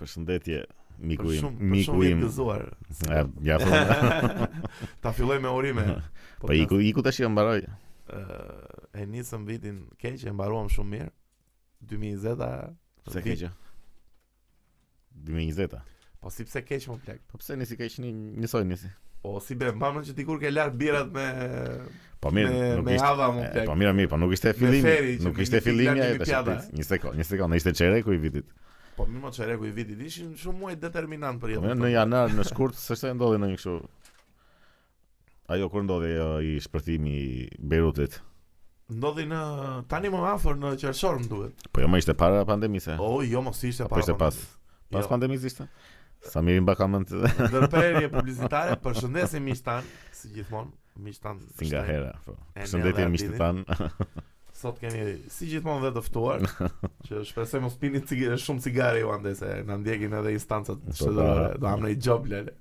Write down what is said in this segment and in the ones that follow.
Përshëndetje miku Për im, shumë- për miku shumë im. vjet gëzuar. Ja, ja po. Ta filloj me urime. Po iku iku tash e mbaroj. ë, e nisëm vitin keq, e mbaruam shumë mirë. 2020-a. Pse vit- keqja? 2020-a. Po si pse keq më plak? Po pse nisi keq një njësoj nisi? O si be, mbamën që dikur ke lart birat me Po mirë, me, nuk me ishte. hava më e, plak. Po mirë, mirë, po nuk ishte feri fillimi, që nuk me ishte një fillimi fitlar, ai një tash. piada. prit, Një sekond, një sekond, ishte çereku i vitit. Po mirë më çereku i vitit ishin shumë muaj determinant Po për jetën. mirë, tonë. në janar, në shkurt s'është ndodhi ndonjë kështu. Ajo kur ndodhi ajo i shpërthimi i Beirutit. Ndodhi në tani më afër në qershor më duket. Po jo më ishte para pandemisë. e? O jo mos ishte Po, para. Jo, ishte pas. Pas pandemisë ishte. Samir Mbakaman Ndërprerje publicitare, përshëndesim miqtan, si gjithmonë, miqtan. si nga shtem. hera. Po. E, Përshëndetje ne miqtë dhe tan. Sot kemi si gjithmonë dhe të ftuar, që shpresoj mos pini cig- shumë cigare ju ande se na ndjekin edhe instancat Po, shtetërore, po. do ham në i job lele.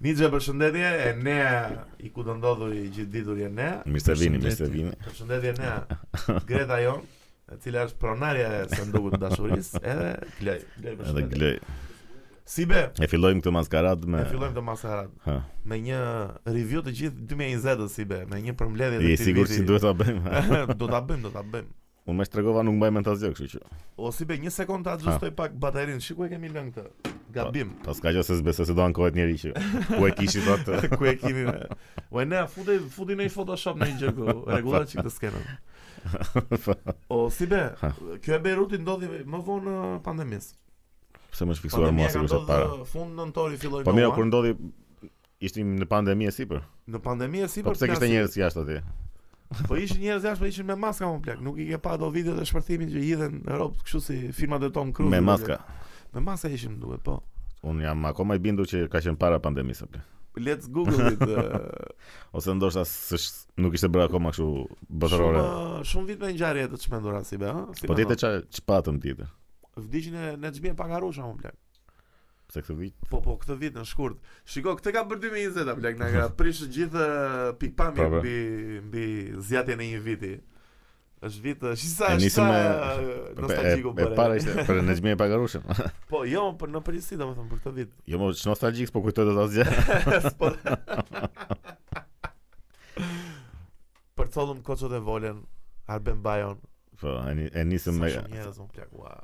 Nixhe përshëndetje, e nea i ku do ndodhuri gjithë ditën e nea. Mirë se vini, mirë se Përshëndetje. vini. Përshëndetje nea. Greta jon, e cila është pronarja e sandukut të dashurisë, edhe Glej. Glej Edhe përshëndetje. glej. Si be, E fillojmë këtë maskaradë me e fillojmë të masarat Ha. me një review të gjithë 2020-s si be, me një përmbledhje të Je sigurt si duhet ta bëjmë? duhet. do ta bëjmë, do ta bëjmë. Unë më shtrëgova nuk mbaj mend asgjë, kështu që O si be, një sekond të ajustoj pak baterinë. Shikoj kemi lënë këtë. Gabim. pas ka gjë se s'besoj se do ankohet njëri që ku e kishit atë. ku e kemi ne? O e ne, futi, futi në i Photoshop në një gjë ku rregullar çik të skenën. O si be, Ha. kjo e Beiruti ndodhi më vonë uh, ë, pandemisë. Pse më shfiksuar mua se kushtet para. ë, uh, fund nëntori filloi Po mirë, Nova. kur ndodhi ishim në pandemi e sipër. në pandemi e si Po pse kishte flasim- njerëz jashtë aty? Po ishin njerëz jashtë, po ishin me maska më plak. Nuk i ke pa do videot e shpërthimit që hidhen në Europë, kështu si filmat e Tom Cruise. Me duke. maska. Me maska ishim duhet, po. Unë jam akoma i bindur që ka qenë para pandemisë. ble. Let's Google it. uh, ë, Ose ndoshta s'sh- nuk ishte bërë akoma kështu Shumë botërore. ë, shumë uh, vit me ngjarje të çmendura si be, ha? Si Po me tjetër thonë. ç'a çpatëm tjetër. Vdiqin e në xhmie pa karusha më plak. Pse këtë vit Po po, këtë vit në shkurt. Shiko, këtë ka bërë 2020 a plak, na ka prish gjithë ë, pikpamje Po, po. mbi mbi zjatjen e një viti. Është vit ë, shi sa E është nisëm sa me- ë, E- nostalgjiku e, e për. para ishte për në xhmi e pagarushëm. Po, jo, për në përgjithësi domethënë për këtë vit. Jo më që nostalgjik, po kujtoj dot asgjë. Po. Për thollëm koçot e volen, Arben Bajon, Po, e ni- e sa nisëm me shumë njerëz më plak, ua.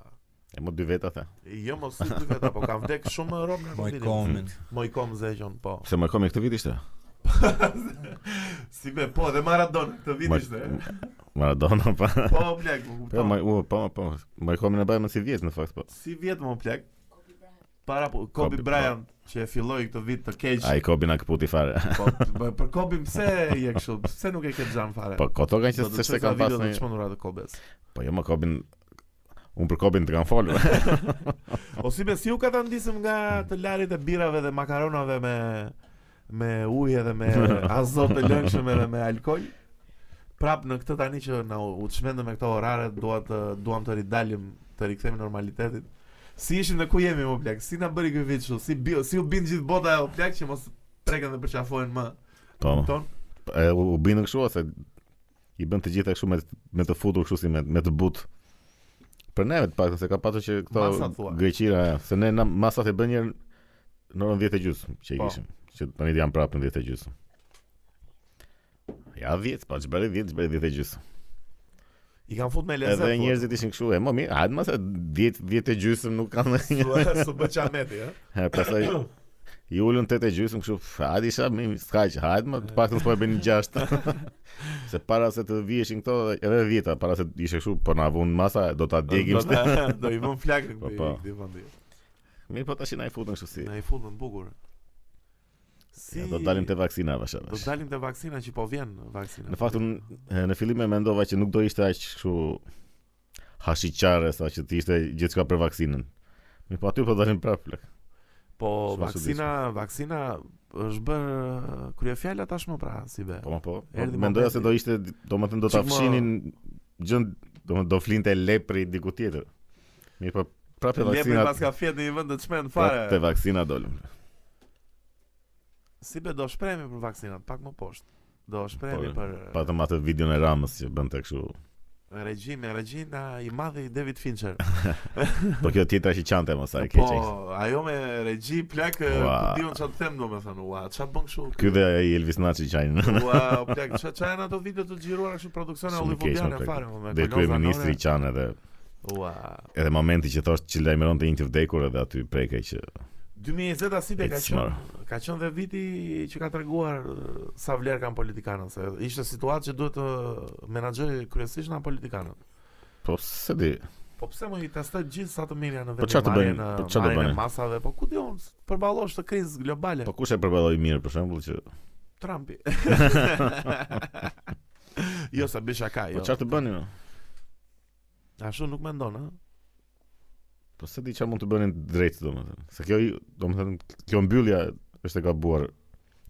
e më dy veta the. Jo mos u dy veta, po ka vdek shumë rom Po, në vitin. Mojkomin. Mojkom Zeqon, po. Se më komi këtë vit ishte. Si me, po, dhe Maradona këtë vit Ma- ishte. eh? Maradona pa. Po, plak, më Po, më kupton. u, po, po. Më komi në bajmë si vjet në fakt po. Si vjet më plak? Para po, Kobe Kobe, Bryant që e filloi këtë vit të keq. Ai Kobi na kputi fare. Po, p- për Kobe pse je kështu? Pse nuk e ke xhan fare? Po koto kanë që Do të s'është shoh kanë pas video të në. çmendura të Kobes. Po jo më Kobin Unë për Kobin të kam folur. O si me si u ka të ndisëm nga të larit e birave dhe makaronave me me ujë dhe me azot të lëngshëm edhe me alkool. Prap në këtë tani që na u u çmendëm me këto orare, dua të duam të ridalim, të rikthehemi normalitetit. Si ishim dhe ku jemi më plak? Si na bëri ky vit kështu? Si bio, si u bin gjithë bota e plak që mos preken dhe përqafohen më. Po. Kupton? e, U u bindën kështu ose i bën të gjitha kështu me me të futur kështu si me me të but. Për neve të paktën se ka pasur që Masat këto thua. greqira, ja, se ne na masat e bën një në orën 10 e gjysmë që i Po. kishim, që tani janë prapë në 10 e gjysmë. Ja 10, pa çbëri 10, çbëri 10 e gjysmë. I kanë fut me lezet. po. Edhe njerëzit ishin kështu, e më mirë, hajde mos 10 10 e gjysmë nuk kanë ndonjë. su bë çameti, ë. E, Pastaj i ulën 8 e gjysmë kështu, "Pff, hajde isha më skaq, hajde më të paktën po e bëni 6. se para se të vijeshin këto edhe 10 para se ishte kështu, po na vun masa, do ta djegim. Do ta- Do i vëm flakën Po, këtij po. këtij vendi. Mirë, po tash i na i futën kështu si. Na i futën bukur. Si Ja, do dalim te vaksina vash. do vash. dalim te vaksina që po vjen vaksina. Në fakt unë e, në fillim e mendova që nuk do ishte aq kështu hashiqare sa që të ishte gjithçka për vaksinën. Mirë, po aty po dalim prapë plak. po Shumë vaksina, vaksina është bër kryefjala tashmë pra si be. Po ma po. po, Erdhi Mendoja momenti. se do ishte, domethënë do ta Qik ma- fshinin gjën, domethënë do flinte lepri diku tjetër. Mirë, po prapë Lepri vaksina. pas ka fjet në një vend të çmend prapë Po, Te fare. vaksina dolëm. Si be do shprehemi për vaksinat pak më poshtë. Do shprehemi Po, për Patëm atë videon e Ramës që bënte kështu regjim, regjina i madhi David Fincher. Po kjo tjetra që qante mos sa e keq. e. Po, ajo me regji plak, eh, Ua. ku diun çfarë të them domethënë, ua, çfarë bën kështu? Ky dhe ai Elvis Naçi qajnë. Ua, plak, çfarë çfarë janë ato video të xhiruara kështu produksione Shumë keq, hollywoodiane më plak. fare më me Dhe kolon kryeministri zanore. qan edhe Ua. edhe momenti që thoshtë që lajmëron të një të vdekur edhe aty prekej që 2020 asite ka It's qenë ka qenë dhe viti që ka treguar eh, sa vlerë kanë politikanët, se ishte situatë që duhet të menaxhoj kryesisht na politikanët. po se di. Po pse më i testoj gjithë sa të mirë janë në Po çfarë të vendmarrjen, bëjnë? eh, Po çfarë do marrjen e bënin? masave, po ku diun, përballosh të krizë globale. Po kush e përballoi mirë për shembull që Trumpi. jo sa bëj shaka, po jo. çfarë të bënin? o? Ashtu nuk mendon, ha? Po se di çfarë mund të bënin drejt domethënë. Se kjo i- domethënë kjo mbyllja është e gabuar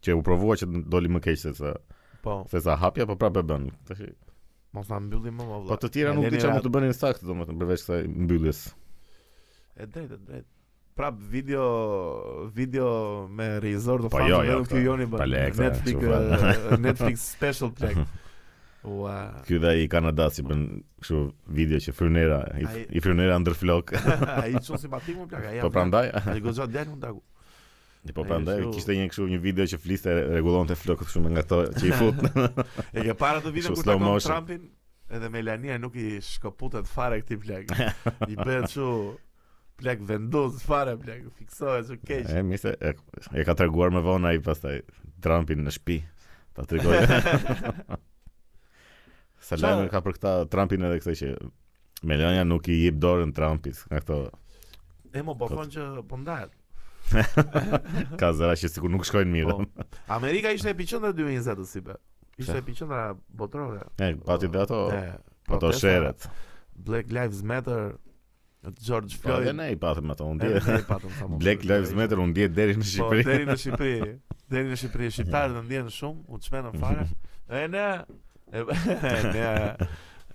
që u provua që doli më keq se sa Po, se sa hapja, po prapë e bën. Tash i- mos na mbyllim më, vëlla. Po të tjera nuk di çfarë mund të bënin saktë domethënë përveç kësaj mbylljes. E drejtë, e drejtë. Prap video video me Resort of Po, Fun, jo, jo, vetëm ky këta- joni bën. pa lek, ta, Netflix që eh, Netflix special plek. Ua. Ky dhe i Kanadas që bën kështu video që frynera i, Ai- i frynera ndër flok. Ai çon simpatik më plak, ai. po prandaj, Ai goxha djalë më dagu. po ai prandaj kështu- kishte një kështu një video që fliste rregullonte flokët kështu me nga ato që i fut. E ke parë atë video Kështu ku slow takon motion. Trumpin edhe Melania nuk i shkëputet fare këtij plak. I bëhet kështu plak vendos fare plak, fiksohet kështu keq. e mirë se e, e ka treguar më vonë ai pastaj Trumpin në shtëpi. Ta tregoj. Sa Qa- lajme ka për këta Trumpin edhe kësaj që Melania nuk i jep dorën Trumpit nga këto E mo po Kot. thonë që po ndahet. ka zëra që sikur nuk shkojnë mirë. Po. Amerika ishte epiqendra 2020 si be. Ishte Qa? epiqendra botërore. E pati dhe ato po E, ato protesta, sheret. Black Lives Matter, George Po Floyd. edhe ne i patëm ato, unë Edhe dje. ne i patëm sa më Black shumë. Lives Matter unë dje deri në Po, Shqipëri. deri në Shqipëri. Deri në Shqipëri shqiptarët e ndjenë shumë, u çmenën fare. E ne e ne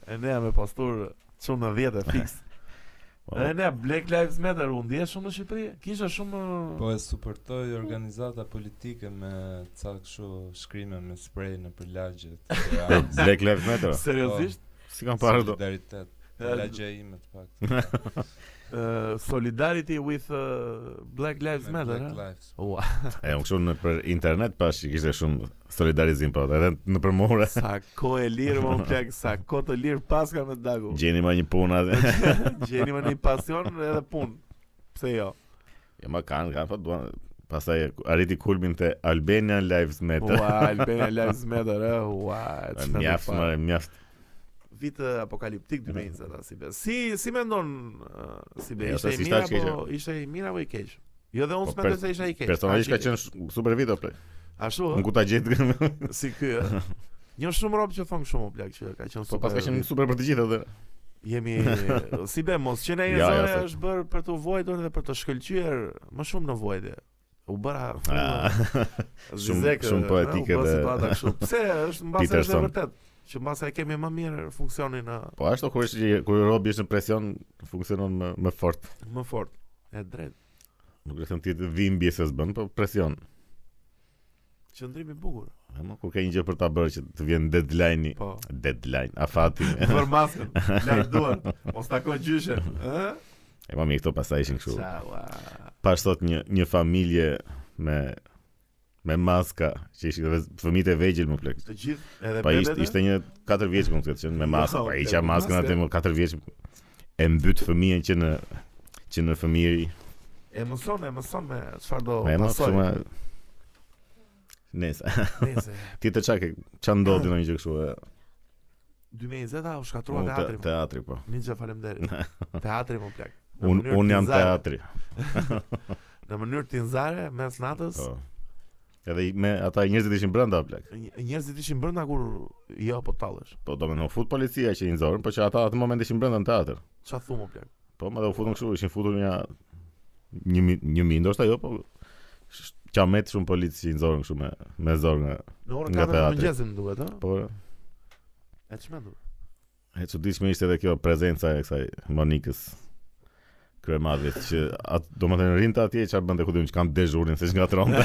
e ne me postur shumë në 10 e fiks. Po, E ne Black Lives Matter u ndje shumë në Shqipëri. Kisha shumë Po e suportoj organizata politike me ca kështu shkrime me sprej në përlagje. të Tiranës. Black Lives Matter. seriozisht Si kam parë do. Solidaritet. e, Lagja ime të pak. e, solidarity with uh, Black Lives Matter. Black ha? Lives. Ua, E unë kështu në për internet pash që kishte shumë solidarizim po edhe në përmore. sa ko e lirë më plak, sa ko të lirë paska me dagu. Gjeni ma një punë atë. Gjeni më një pasion edhe punë. Pse jo? Jo ma kanë, kanë po duan pastaj arriti kulmin te Albania Lives Matter. Ua, Albania Lives Matter, eh? ua, E, çfarë Mjaft, fare. më mjaft. Vit eh, apokaliptik 2020 ta si be. Si si mendon eh, si be Ja, Jo, ishte se i si mirë thash që apo ishte i mirë apo i keq? Jo dhe unë Po, s'mendoj pers- se ishte i keq. Personalisht ka Ashtu i qenë sh- super video play. keq. ashtu Unë ku ta gjet. ë, si ky. ë. Një shumë rob që thon shumë plak që ka qenë Po super. pas ka qenë super për të gjithë atë. jemi si be mos që ne Ja, e ja, zore se- është bërë për të vuajtur dhe për të shkëlqyer më shumë në vuajtje. U bëra Ah, shumë- zizek, shumë ë, poetike u bë dhe- situata kështu. Pse është mbase është e Peterson. vërtet që mbase e kemi më mirë funksionin eh, ë, Po ashtu kur është kur robi është në presion funksionon më më fort. më fort. E drejtë. Nuk e them ti të dhimbje se s'bën, po presion. Qëndrimi i bukur. E, mo, Kur ka një gjë për ta bërë që të vjen deadline-i. Po. Deadline, afati. Për maskën, laj duan, mos takoj gjyshe. eh? Ë? E mami këto pastaj ishin kështu. Çaua. Pash sot një një familje me me maska, që ishin dhe fëmijët e vegjël më plak. Të gjithë edhe Pa ishte ishte një 4 vjeç më këtë qenë me maska, Jo, pa plak, isha me maskën maskë. atë më 4 vjeç e mbyt fëmijën që në që në fëmijëri. e mëson, e mëson me çfarë do Me më pasoj. shumë Nëse Nëse ti të çka çan ndodhi ndonjë gjë kështu. e, 2020 u shkatrua unë te- teatri. Te, Teatri po. Ninja faleminderit. Teatri më plak. Në Un mënyrë un jam tinzare- teatri. Në mënyrë tinzare mes natës. Po. Edhe i- me ata njerëzit ishin brenda plak. nj- Njerëzit ishin brenda kur jo po tallesh. Po do më në fut policia që i nxorën, po që ata atë moment ishin brenda në teatr. Çfarë thu më plak? Po më dhe u futën kështu, ishin futur një një mi- një mi ndoshta jo, po sh- qamet shumë policë që i nxorën kështu me me zor nga. Në orën Nga 4 të teatri. mëngjesit më duhet, ë? Po E çmendur. e çuditshme ishte edhe kjo prezenca e kësaj Monikës. kryemadhit që atë domethënë rinte atje çfarë bënte ku diun që kanë dezhurin se çngatronte,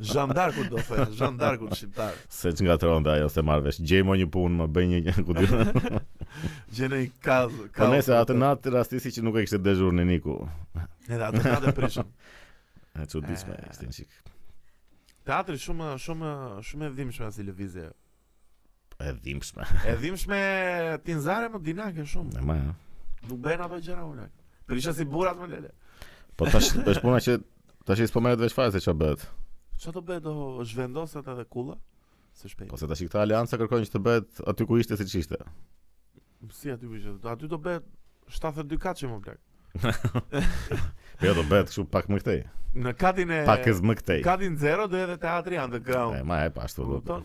Zhandarkut do thënë, zhandarkut shqiptar. se çngatronte ajo se marr vesh. Gjej më një punë, më bëj një ku diun. Gjene i kazë. Po nëse atë natë rastisi që nuk e kishte dezhurin Niku. Edhe atë natë e prishëm. E çuditshme ishte një çik. Teatri shumë shumë shumë e dhimbshme si lëvizje. E dhimbshme. E dhimbshme tinzare më dinake shumë. E ma. ja. Nuk bën ato gjëra unë. Prisha si burrat më lele. Po tash është puna që tash s'po merret vesh fare se ç'a bëhet. Çfarë do bëhet do zhvendoset edhe kulla? Së Po shpejt. se tash këta alianca kërkojnë që të bëhet aty ku ishte siç ishte. Si aty bëhet? Aty do bëhet 72 kaçe më plak. Po jo do bëhet kështu pak më këtej. Në katin e Pak e më këtej. katin 0 do edhe teatri E po, underground. ma e pa ashtu do. Kupton?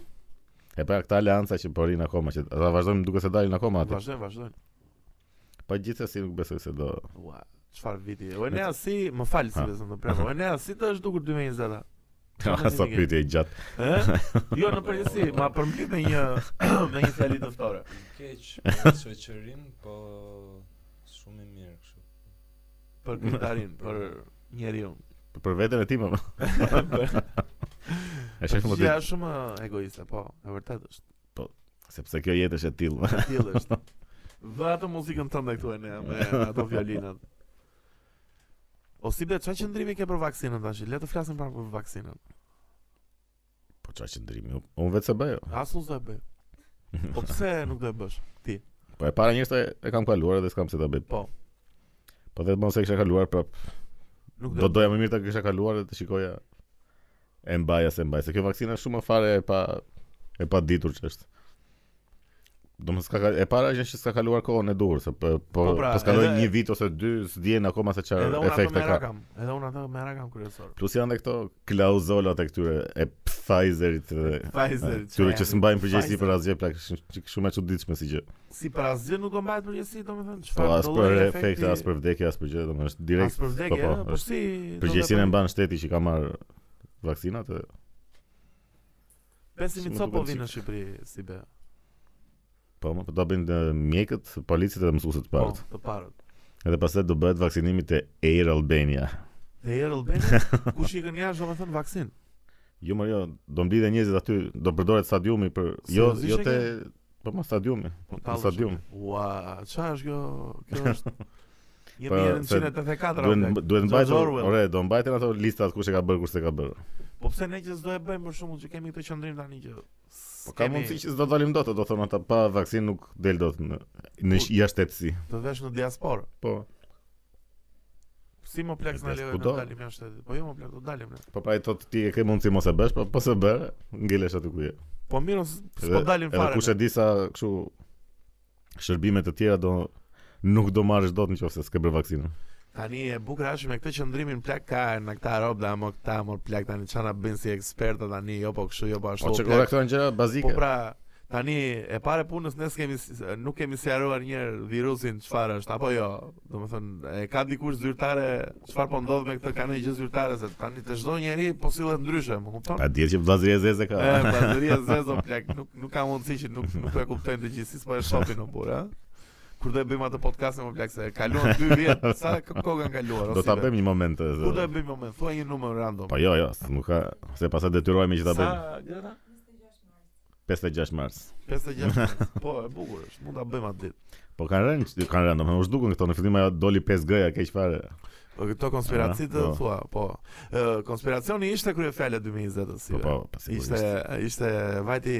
E pra këta alianca që po rinë akoma që ata vazhdojnë duke se dalin akoma aty. Vazhdojmë, vazhdojmë. Po gjithsesi nuk besoj se do. Ua, çfarë viti? O ne si, më fal si Ha. besoj të prem. O ne si të është dukur 2020-a? Po, Sa pyetje e gjatë. Ë? Jo në përgjithësi, ma përmbledh me një me një fjalë dëftore. Keq për shoqërin, po shumë i mirë kështu. Për këngëtarin, për njeriu. Për- Për veten e tim. ama. E shef më Gjëja ti, është shumë egoiste, po, e vërtet është. sepse kjo jetë është e tillë. E tillë është. Vë atë muzikën tënde këtu e ne me ato violinat. O si be, çfarë qëndrimi ke për vaksinën tash? Le të flasim pak për vaksinën. Po çfarë qëndrimi? Unë- Unë vetë se bëj. jo. o. As nuk do e bëj. Po pse nuk do e bësh? Po e para njerëz e- e kam kaluar dhe s'kam se ta bëj. Po. Po vetëm mos e kisha kaluar prap. Nuk Do do. doja më mirë ta kisha kaluar dhe të shikoja e mbaja se mbaj. Se kjo vaksina është shumë fare e pa e pa ditur ç'është. Domos ka ka- e para është që s'ka kaluar kohën e duhur, se po po, Po pra, po s'ka kaloi edhe- një vit ose dy, s'dihen akoma se Edhe çfarë unë atë efekte mera ka. kam. Edhe unë atë mera kam kryesor. Plus janë dhe këto klauzolat e këtyre e Pfizerit dhe Pfizer. Këtyre që s'mbajnë përgjegjësi Pfizer. për asgjë pra, plak, sh- sh- shumë e çuditshme si gjë. Si për asgjë nuk do mbahet përgjegjësi, domethënë Po çfarë as për efekte, as për vdekje, as për gjë, domethënë është direkt. As direkt për vdekje, po, ë, po është si do përgjegjësinë të e bëjmë? mban shteti që ka marr vaksinat. e- Pesimi Si më co po duket vjen në si- Shqipëri si be. Po më po do bëjnë e, mjekët, policët dhe mësuesit të parët. Po, të parët. Edhe pastaj do bëhet vaksinimi te Air Albania. Dhe Air Albania, kush i kanë jashtë domethënë vaksin. Jo më jo, do mblidhen njerëzit aty, do përdoret stadiumi për jo Seriozisht jo e te po ma stadiumi, në Tallë stadium. shumë. Ua, çfarë është kjo? Kjo është Po, Jemi në se 1984. o Duhet plak. duhet mbajtur, George Orwell. ore, do mbajten ato listat kush e ka bërë, kush s'e ka bërë. Po pse ne që s'do e bëjmë për shkakun që kemi këtë qendrim tani që Po ka mundësi që s'do dalim dot, do thonë ata pa vaksinë nuk del dot në në Ku- jashtëtsi. të vesh në diasporë. Po. Si më plak s'na Vesh lejojnë kudo. të dalim jashtë shtetit. Po jo më plak do dalim ne. Po pra i thotë ti e ke mundësi mos e bësh, po po se bër, ngelesh aty ku je. Po mirë, s- s'po Edhe- dalim Edhe fare. kush e di sa kështu shërbime të tjera do nuk do marrësh dot nëse s'ke bërë vaksinën. Tani e bukur është me këtë qëndrimin plak ka në këta rob dhe amo këta mo plak tani çana bën si ekspertë tani jo po kështu jo po ashtu. Po o çka plak. ora këto janë gjëra Po bazike. pra, tani e pare punës ne kemi nuk kemi sqaruar një herë virusin çfarë është apo jo. Domethënë e ka dikush zyrtare çfarë po ndodh me këtë kanë gjë zyrtare se tani të çdo njeri po sillet ndryshe, më kupton? A dihet që vllazëria e zeze ka? E, bazuria zezo plak, nuk, nuk ka mundësi që nuk, nuk e kuptojnë të gjithë, si s'po e shohin o burë, ha? Kur do e bëjmë atë podcastin më plak, se kaluan 2 vjetë, sa k- kohë kanë kaluar, Do ta osive? bëjmë një moment. e, Ku do se- e bëjmë moment, thua një numër random. Po jo, jo, s- nuk ka, se pastaj detyrohemi që ta Sa, bëjmë gjëra? 56 mars. 56 mars. Po, e bukur është, mund ta bëjmë atë ditë. Po kanë rënë, kanë rënë, domethënë u zhdukën këto në fillim ajo doli 5G-ja keq fare. Po këto konspiracitë Aha, po. thua, po. Ë, konspiracioni ishte kryefjala 2020-s. Po po, po sigurisht. Ishte ishte vajti,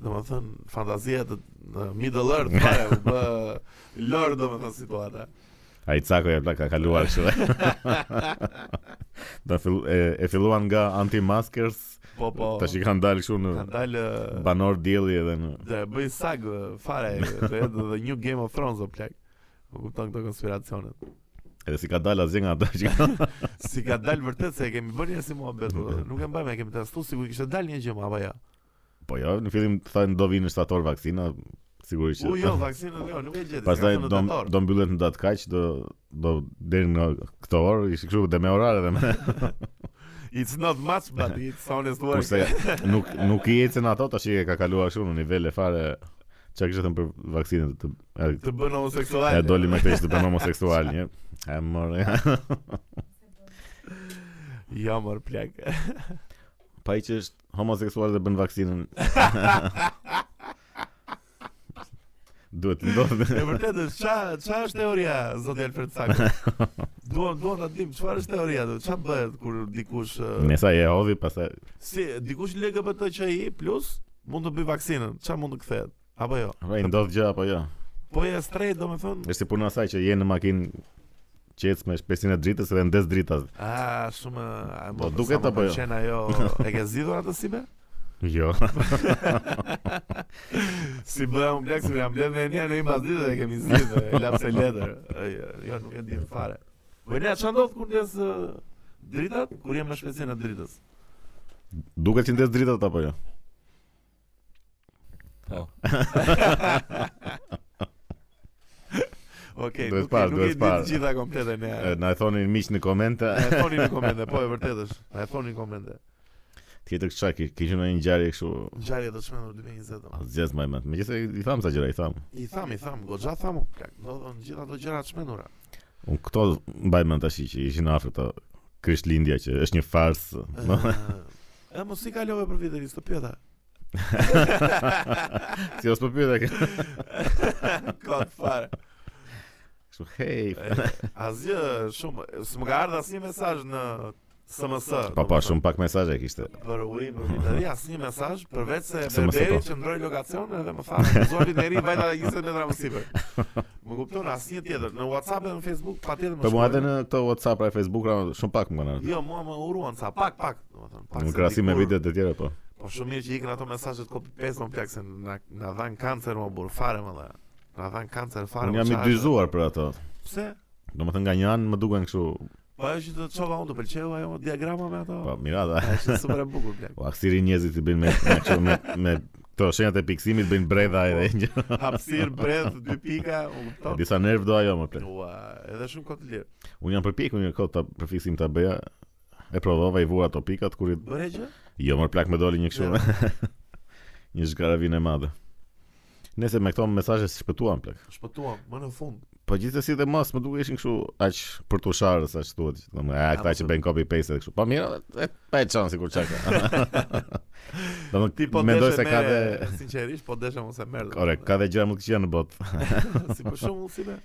domethënë, fantazia të në Middle Earth, fare, u bë lor domethënë situata. Ai Cako e plak ka kaluar kështu. Do fill, e, e filluan nga anti-maskers, Po po. tash i kanë dalë kështu Ka në dalë ë, banor dielli edhe në dhe bëj sag ë, fare dhe edhe dhe një Game of Thrones o plak. Më kupton këto konspiracionet. edhe si ka dalë asgjë nga ata që kanë. Si ka dalë vërtet se e kemi bërë një si muhabet, po, nuk e mbajmë, e kemi testuar sikur kishte dalë një gjë më apo ja. Po jo, në fillim thënë do vinë në shtator vaksina, sigurisht. që- U jo, vaksinën jo, nuk e gjeti. Pastaj s'ka do thënë në tetor. do mbyllet në datë kaq, do do deri në këtë orë, ishte kështu dhe me orare dhe me It's not much but it's honest work. kurse nuk nuk i ecën ato tash e ka kaluar kështu në nivele fare Çka kishte thënë për vaksinën të e, Të bën homoseksual. E doli me këtë që të bën homoseksual, një. E morë. Ja mor plak. Pa i që është homoseksual dhe bën vaksinën. Duhet të E ndodhë. vërtet është ça ça është teoria zoti Alfred Sako. Duam duam ta dim çfarë është teoria, do çfarë bëhet kur dikush ë, Ne sa Jehovi, pastaj si dikush LGBTQI+ mund të bëj vaksinën, çfarë mund të kthehet? Apo jo. pra i ndodh gjë apo jo. Po ja strejt domethënë. Është si puna e saj që je në makinë qec me shpesin e dritës dhe ndes dritas. A shumë a, Po, më- duket sa më apo jo? pëlqen ajo, e ke zgjidhur atë si be? Jo. Si bëhem un plak, si jam bledh me një në një pas ditë dhe kemi zgjidhur, e lapse letër. Ej, Jo, nuk e di fare. Po ne çfarë ndodh kur ndes ë, dritat, kur jem në shpecinë e dritës? Duket që ndes dritat apo jo. Po. Okej, Duhet nuk, parë, parë, nuk duhet e di parë. të gjitha komplete ne. E, Na e thonin miq në komente. Na e thoni në komente, po e vërtet është. Na e thoni në komente. Tjetër çka ki- kishin ndonjë ngjarje kështu Ngjarje të shmendur 2020. domethënë. asgjës më më. Megjithëse i tham sa gjëra i tham. I tham, i tham, goxha tham, plak. Ndodhën gjitha ato gjëra të shmendura. Un këto mbaj mend tash që ishin afër këto Krishtlindja që është një farsë. Ë, E mos i kalove për vitin të pyeta. si os po pyeta kë- Kot fare. kështu hey. E, Asgjë shumë, s'më ka ardhur asnjë mesazh në SMS. Pa pa shumë pak mesazhe kishte. për urim për vitin e ri, asnjë mesazh përveç se SMS Berberi po. që ndroi lokacion edhe më tha, "Zua vitin e ri vajta 20 metra më sipër." Më kupton asnjë tjetër. Në WhatsApp dhe në Facebook patjetër më Po mua edhe shkruajnë. në këto WhatsApp ra Facebook ra shumë pak më kanë. ardhur. Jo, mua më uruan sa pak pak, domethënë, pak. Në se krahasim me dikur- videot e tjera po. Po shumë mirë që ikën ato mesazhet copy paste më plak se na na dhan kancer më burr fare më dha. Na dhan kancer fare. Unë më jam i qartë. dyzuar për ato. Pse? Domethënë nga një anë më duken kështu Po ajo që të çova unë të pëlqeu ajo diagrama me ato. pa mirada. Është super e bukur plak. Po aksiri njerëzit i bëjnë me me kështu me me këto shenjat e piksimit bëjnë bredha Po, edhe një. Hapësir, bredh, dy pika, u kupton? Disa nerv do ajo më plot. Ua, edhe shumë kot lirë. Unë jam përpjekur një kohë ta përfiksim ta bëja. E provova i vura ato pikat kur i Bëre gjë? jo më plak më doli një kështu. Jo. një zgaravinë e madhe. Nëse me këto mesazhe si shpëtuam plak. Shpëtuam më në fund. Po gjithsesi dhe mos më duke ishin kështu aq për tu sharës aq thuhet. Domethënë a këta që bëjnë copy paste kështu. Po mirë, e pa e çon sikur çka. Ti po Domethënë mendoj deshe se ka dhe sinqerisht po deshe mos e merr. Ore, ka dhe gjëra më të qenë në botë. si për shembull si be.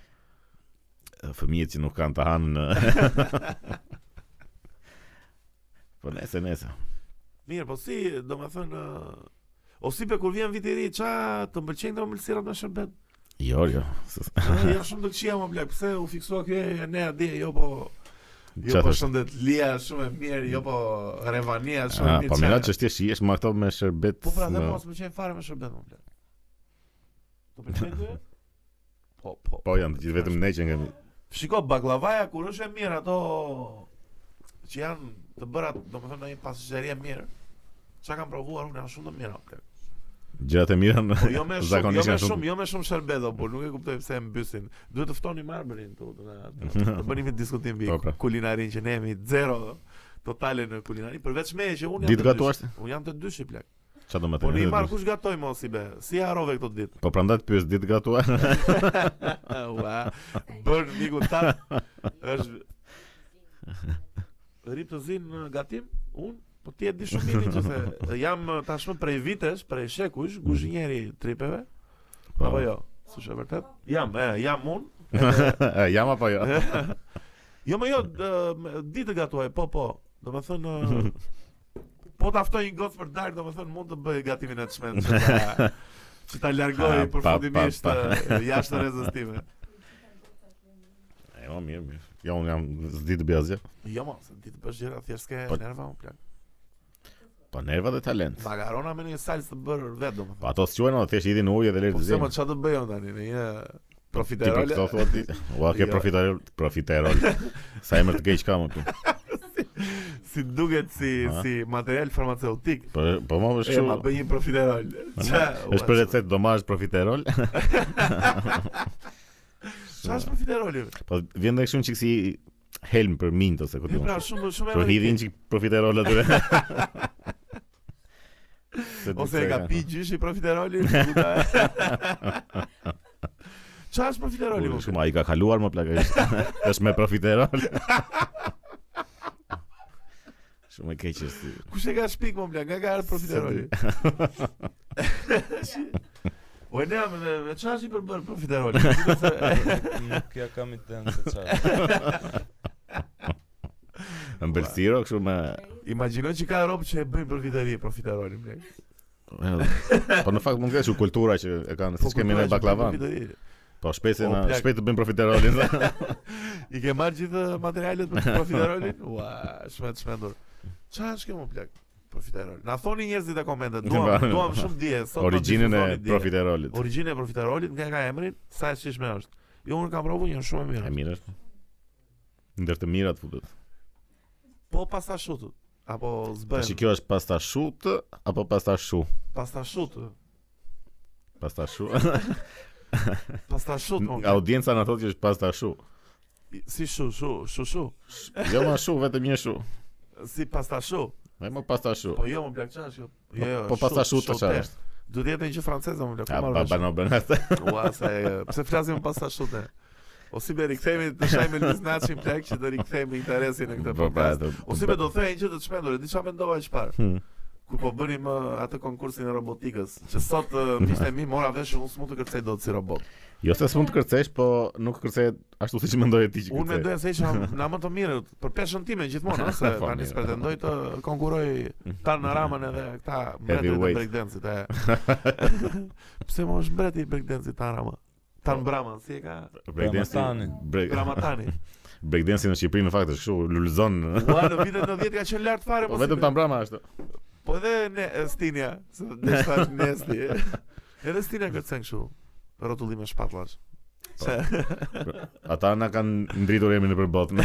Fëmijët që nuk kanë të hanë. po nese, nese. Mirë, po si, domethënë ë, uh, o si be kur vjen viti i ri, ça të m'pëlqejnë këto mëlsirat me shërbet? Jo, jo. Ë, janë shumë të këqija më blek. Pse u fiksua kjo e ne atje, jo po jo Qa po thosh? shëndet lia shumë e mirë, jo po revania shumë e Ah, mirë. po mira qa- që ti shihesh me ato me shërbet. Po pra, dhe në- mos pëlqejnë fare me shërbet më blek. Të pëlqejnë ky? Po, po. Po janë të gjithë vetëm ne që kemi. Shiko, baklavaja kur është e mirë ato që janë të bëra, domethënë në një pasqyri e mirë. Çka kam provuar unë janë shumë të mira. plak. Gjërat e mira. në- Po jo më shumë, jo Zakonisht më janë shumë, jo më shumë sherbet apo nuk e kuptoj pse e mbysin. Duhet të ftoni marmërin këtu, do na të bëni një diskutim mbi Po, pra. kulinarinë që ne jemi zero totale në kulinari, përveç meje që unë jam. Ditë të dyshi. gatuash? Unë jam të dyshi plak. Çfarë do më Po ne i marr thënë? kush gatoj mos i be. Si harove këto ditë? Po prandaj të pyes ditë gatuar. Ua. Bën miku tat. Është Rip të zinë në gatim, unë, po ti e di shumë mirë që se jam uh, tashmë prej vitesh, prej Mm. shekush, guzhinjeri tripeve, Po. Apo jo? S'është e vërtet? Jam, e, jam unë. E, Jam apo jo? jo, më jo, d- m- ditë gatuaj, po, po. Do me thënë... ë, Po ta ftoj një gocë për darkë, do me thënë mund të bëj gatimin e të shmenë që ta, që ta largoj Ha, pa, përfundimisht pa, pa. ë, jashtë të rezistime. E, Jo, mirë, mirë. Jo, unë jam s'di të bëj asgjë. Jo, ma, se ditë bësh gjera, thjesht ke Po- nerva, unë plak. Po nerva dhe talent. Magarona me një salsë të bërë vetë, do me Po thënë. ato s'quhen, o, thjesht i din ujë dhe lërë Po të se më zimë. që të bëjon tani, në një Po, Ti për profiterole. këto thua ti? Ua, ke Jo. profiterol, profiterol. Sa emër të keq ka më këtu. Si duket si, Aha. si material farmaceutik. Po, po më është E, ma kështu. bëj një profiterol. Qa- Është për recetë domazh profiterol. Qa është profiteroli? Po vjen dhe kështu një çiksi helm për mint ose ku Mi diun. pra shumë shumë Po hidhin amerikan. çik profiterol aty. se di Ose e pse ka pi gjyshi profiteroli puta. Qa është profiteroli Ujë, më? Shumë ai ka kaluar më plagë. Është me profiterol. Shumë e keq është. Kush e ka shpik më bla? Nga ka ardhë profiteroli? O e ne, me, me, me qa është i përbërë profiteroli? Duket se- Nuk ja kam idenë se çfarë. Ëmbëlsiro kështu me Imagjino që ka robë që e bëjnë profiteri, profiteroli bla. Po në fakt mund të kesh kultura që e kanë, siç kemi Po kultura ne që baklavan. bëjnë profiteroli. Po shpejt se O, na plak. shpejt të bëjmë profiterolin. I ke marrë gjithë materialet për profiterolin? Ua, shmet shmendur. Qa është kjo më plak? Profiterol. Na thoni njerëzit e komentet. Duam, Ba. duam shumë dje. sot do Origjinën e diskutoni dje. profiterolit. Origjina e profiterolit nga ka emrin, sa e shishme është. Jo unë kam provu, janë shumë e E mirë. mirë është. Ndër të mirat futet. Po pasta shutut apo Tash zbën. kjo është pasta shut apo pasta shu? Pasta shutut. Pasta shu. Pasta shut. mo, Audienca na thotë që është pasta shu. Si shu, shu, shu, shu. Jo ma shu, vetëm një shu. Si pasta shu. Ai më pasta shu. Po jo më plak çash kjo. Jo, jo. Po pasta shu të shute. çfarë është? Duhet të jetë një gjë franceze më plak. A ku marrë pa vesh? bano bën atë. Ua, sa e... Pse flasim pasta shute? O si be rikthehemi të shajmë Luis Naçin plak që do rikthehemi interesin në këtë Po pra. podcast. O si be do thënë një gjë të çmendur, e di çfarë mendova çfarë. Hmm. kur po bënim ë, atë konkursin e robotikës, që sot uh, ë, miqtë e mi mora vesh unë s'mund të kërcej dot si robot. Jo se s'mund të kërcesh, po nuk kërcehet ashtu siç mendoje ti që Unë kërcej. mendoj se isha na më të mirë për peshën time gjithmonë, ë, se Po, tani mirë. pretendoj të konkuroj panoramën edhe këta mbretërit e Heavyweight. breakdance-it. e. Pse më është mbreti i breakdance-it Tanrama? Tan Brama, si e ka? Breakdance. Ramatani. Break, Bramatani. breakdance në Shqipëri në fakt është kështu lulzon. Ua, në vitet 90 ka qenë lart fare Po po. vetëm si- ta mbrama ashtu. Po edhe ne e, Stinja, se ne shtash nesti. e. Edhe Stinja kërcen kështu. Rotullime shpatullash. Ata na kanë ndritur emrin nëpër botë.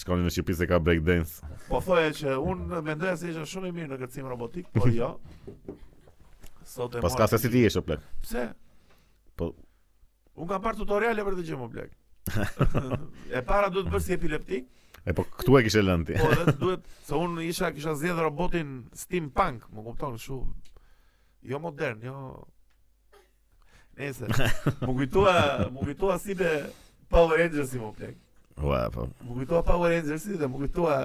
Shkonin në Shqipëri se ka breakdance. Po thoje që unë mendoja se isha shumë i mirë në kërcim robotik, por jo. Sot e Po s'ka mora- se si ti je o plak. Pse? Po- Unë kam parë tutoriale për të gjë më blek. e para duhet bësh si epileptik, E po këtu e kishe lënë ti. po edhe duhet se unë isha kisha zgjedh robotin steampunk, më kupton, kështu jo modern, jo Nëse, më kujtua, më kujtua si be Power Rangers i më blek. Ua, po. Më kujtua Power Rangers dhe më kujtua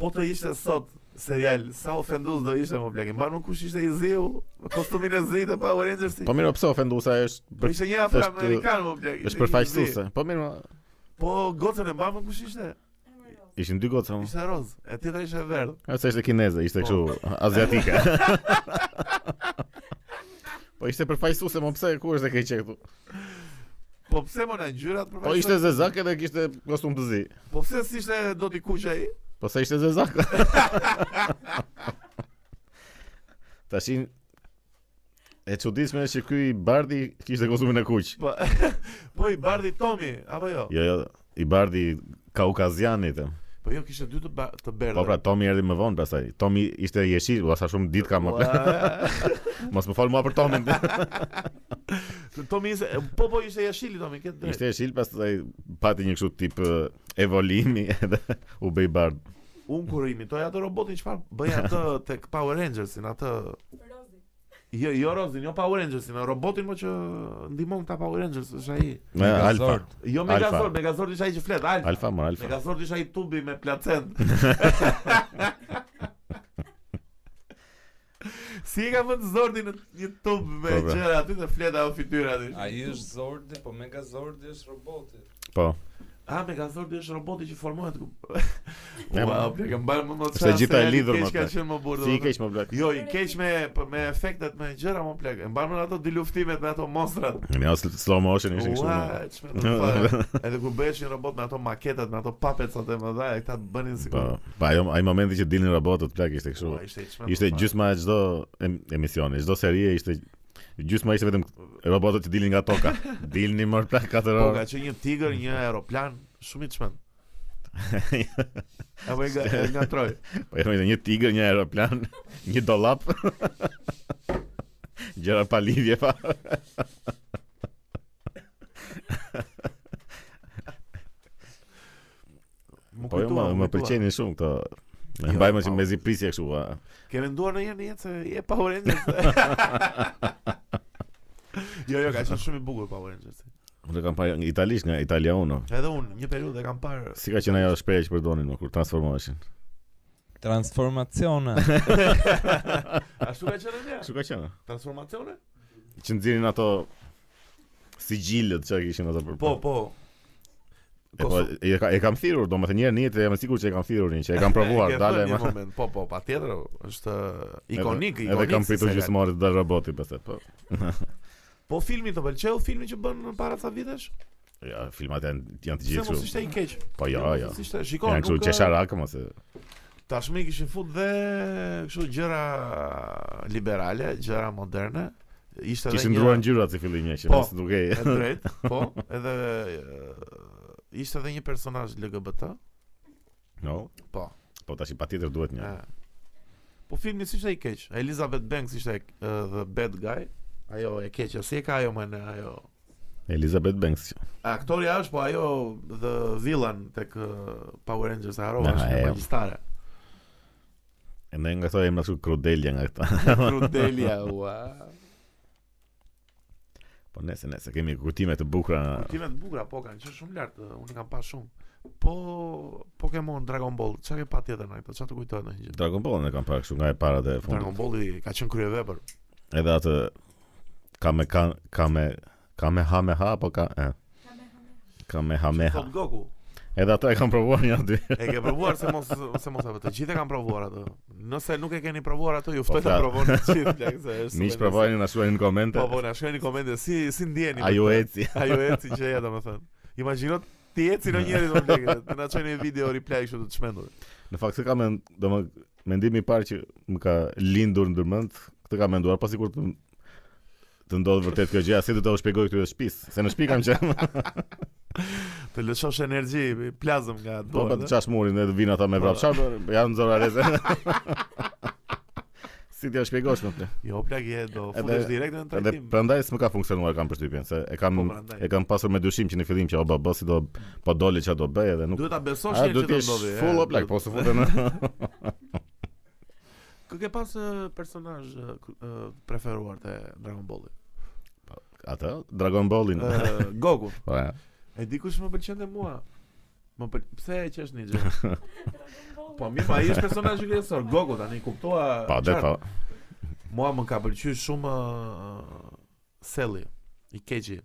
po të ishte sot serial, sa ofendues do ishte më blek. Mban nuk kush ishte i ziu, kostumin e zi të Power Rangers. Po mirë, pse ofenduesa është Po për ishte një afroamerikan më blek. ishte është i zi. përfaqësuese. Po mirë, ma, Po gocën e mban kush ishte? ishin dy goca. ma. Ishte roz, e tjetra ishte e verdh. A se ishte kineze, ishte Po. kështu aziatike. po ishte përfaqësuese, më pse ku është e keqe këtu? Po pse më në ngjyrat për Po ishte zezak edhe kishte kostum të zi. Po pse s'ishte do t'i kuq ai? Po se ishte zezak. Tashin e çuditshme është që ky Bardi kishte kostumin e kuq. Po po i bardhi Tomi apo jo? Jo, jo, i Bardi kaukazianit. e. Po jo kishte dy të ba- të berdha. Po pra Tomi erdhi më vonë pastaj. Tomi ishte jeshil, ua sa shumë ditë kam. Mos më fal mua për Tomin. Tomi ishte po po ishte jashili Tomi, këtë drejt. Ishte jeshil pastaj pati një kështu tip eh, evolimi edhe u bëi Bard. Unë kur imitoj atë robotin çfarë bëj atë tek Power Rangersin, atë jo jo Rozin, jo Power Rangersin, robotin më që ndihmon ta Power Rangers, është ai. Me Alfa. Megazord. Jo Alpha. Megazord, Megazord është ai që flet, Alfa. Alfa, mor Alfa. Megazord është ai tubi me placent. si e ka vënë Zordin në një tub me Po, bra. gjëra aty të flet ajo fytyra aty. Ai është Zordi, po Megazordi është roboti. Po. Ah, Megazordi është roboti që formohet. ku- Ja, Ua, ma. u plagë mbar më më Është e gjitha e lidhur më. me Ka atë. qenë më burrë. Si i domethënë. keq më blaq. Jo, i keq me p- me efektet me gjëra më plagë. E mban ato diluftimet me ato monstrat. Ne as slow motion ishin kështu. po. me- Ua, çfarë do të fare. Edhe kur bëhesh një robot me ato maketat, me ato papecat e mëdha, e këta bënin Po, sikur. pa ajo ai momenti që dilnin robotët plak ishte kështu. Ua, ishte çmendur Ishte fare. gjysma e çdo em- emisioni, çdo serie ishte gjysma ishte vetëm robotët që dilnin nga toka. Dilnin më plak katër Po ka orë. qenë një tigër, një aeroplan, shumë i çmend. Apo e nga e nga troj. Po jo, ishte një tigër, një aeroplan, një dollap. Gjëra pa lidhje pa. Më Po jo, kujtua, më, më më kujtua. Po, pëlqenin jo, shumë këto Me Jo, mbajmë pa si u- mezi prisje kështu. a. Ke menduar ndonjëherë në jetë se je Power Rangers? jo, jo, ka qenë shumë i bukur Power Rangers. Unë e kam parë nga italisht nga italiano. Edhe unë një periudhë e kam parë. Si ka qenë ajo shpreha që përdonin më kur transformoheshin? Transformacione. Ashtu ka qenë ndja? Kështu ka qenë. Transformacione? Që nxjerrin ato sigjilët që kishin ato për. Po, po. E po, e, ka, e kam thirrur, domethënë një herë në jetë jam i sigurt që e kam thirrur një, që e kam provuar, E ke dalë thënë një më. moment. Po, po, patjetër është Edhe- ikonik, ikonik. Edhe kam si pritur se ka- gjysmore të dal roboti pastaj, po. Po filmi të pëlqeu, filmi që bën para ca vitesh? Ja, filmat janë janë të Se gjithë mos kështu. ishte i keq. Po jo, mos jo. Ishte, shikoj, Janë kështu nuk eh, qesharak mos e. tashmë i kishin fut dhe kështu gjëra liberale, gjëra moderne. Ishte edhe Kishin një- ndruar ngjyrat si fillim një që Po. mos dukej. E drejt, po, edhe e, ishte edhe një personazh LGBT, No. po. Po tash patjetër duhet një. e. Po filmi si ishte i keq. Elizabeth Banks ishte e- the bad guy. Ajo e keqja, si e ka ajo më në ajo. Elizabeth Banks. Aktori ajo është, po ajo the villain tek ë, Power Rangers e harova Na, është një e. jo. magjistare. Ende nga këto emra kështu krudelja nga këta. Crudelia, ua. Po nese, nese, kemi kujtime të bukura. Kultimet bukura po kanë qenë shumë lart, ë, unë kam pa shumë. Po Pokemon Dragon Ball, çka ke pa tjetër ndaj? Po çfarë të kujtohet ndonjë gjë? Dragon Ball ne kam parë kështu nga e para dhe e fundit. Dragon Balli ka qenë kryevepër. Edhe atë ka me ka, ka me ka me ha me ha apo ka e. Ka me ha me ha. Top Goku. po. Edhe ato e kam provuar një dy. E ke provuar se mos se mos apo të gjithë e kanë provuar ato. Nëse nuk e keni provuar ato, ju Po, ftoj ta flas. provoni të gjithë, plak se është. Miq super provojnë na shkruajnë në interesant. komente. Po po, na shkruani komente si si ndjeni. A me ju këtë? eci? Ajo eci që ja domethën. Imagjino ti eci në njëri do blekë, të na çojnë një video replay kështu të çmendur. Në fakt se kam men- do më mendimi i parë që më ka lindur në ndërmend, këtë kam menduar pasi kur të të ndodh vërtet kjo gjë, a si do të u shpjegoj këtyre shtëpis? Se në shtëpi kam qenë. po, Të lëshosh energji plazëm nga Po po dorë. të çash murin edhe vinë ata me Po. vrapshar, janë zorareze. si t'ja shpjegosh më plot? Jo, plak je do Edhe- futesh direkt në Edhe trajtim. prandaj s'më ka funksionuar kam përshtypjen se e kam Po, prandaj. e kam pasur me dyshim që në fillim që o baba si do po doli ç'a do bëj edhe nuk Duhet ta besosh A një do të që do jesh ndodhi. full e, o plak, do- po se futen. Kë ke pas ë, personazh ë, k- ë, preferuar te Dragon Balli? Atë Dragon Ballin. Ë, Goku. Po. ja. E di kush më pëlqente mua? Më pël... Pse e qesh një gjë? po mirë, pa ai është personazhi kryesor. Goku tani kuptoa. Po, dhe qartë. po. Mua më ka pëlqyer shumë uh, Selli, i keqi.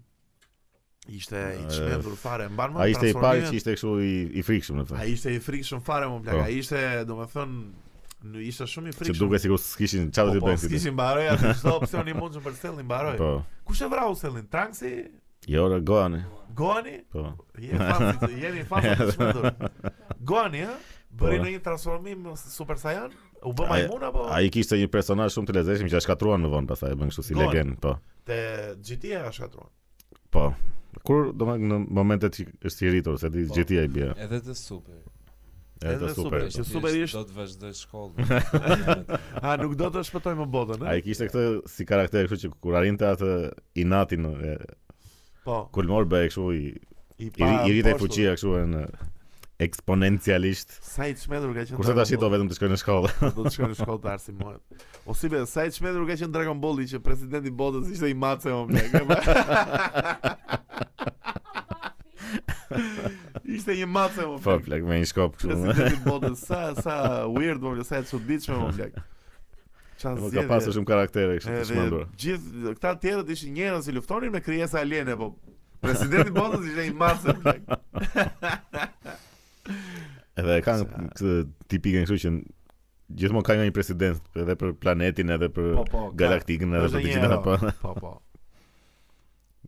Ishte i Eh, çmendur fare, mban më Ai ishte i pari që transformimet. ishte kështu i i frikshëm në fakt. Ai ishte i frikshëm fare më plak. Po. Ai ishte, domethënë, në ishte shumë i Që frikshëm. duke sikur s'kishin çfarë do të po, po, bëjnë. si s'kishin mbaroj atë çdo opsion i mundshëm për Sellin mbaroj. ti. Po. Kush e vrau Sellin? Tranksi? Jo, re, Goani. Goni? Po. Je fans, të- jeni fans të çmendur. Goni, ha? Bëri në një transformim Super Saiyan? U bë Po. Ai- majmun apo? Ai kishte një personazh shumë të lezetshëm që e shkatruan më vonë pastaj e bën kështu si Gohan. legend, po. Te GT-ja ka shkatruar. Po. Kur do më në momentet që është i rritur se di Po. gjithë ai bie. Edhe të super. Edhe Edhe super. super. Që Thjesht superisht- do të vazhdoj shkollën. A nuk do të shpëtoj më botën, Ai e? kishte këtë si karakter kështu që kur arrinte atë inatin e, Po. kulmor bëhej kështu i i, pa- po, i rritej poshtu. fuqia kështu në eksponencialisht. Sa i çmendur ka qenë. Kurse Dragon tash do Ball. vetëm të shkoj në shkollë. do të shkojnë në shkollë të arsimohet. O si be, sa i çmendur ka qenë Dragon Balli që presidenti i botës ishte i mace më plak. ishte një mace më Po plak. plak me një shkop kështu. Presidenti i botës sa sa weird më plak, sa e çuditshme më plak. Çfarë Nuk ka zgjedhje. pasur shumë karaktere kështu të Edhe shmendur. gjithë këta tjerët ishin njerëz që luftonin me krijesa aliene, po presidenti i botës ishte i mace më plak. Edhe e kanë Se- këtë tipikën kështu që n- gjithmonë ka një president edhe për planetin edhe për Po po. ka- galaktikën edhe për është të një gjitha hero. po. Po po.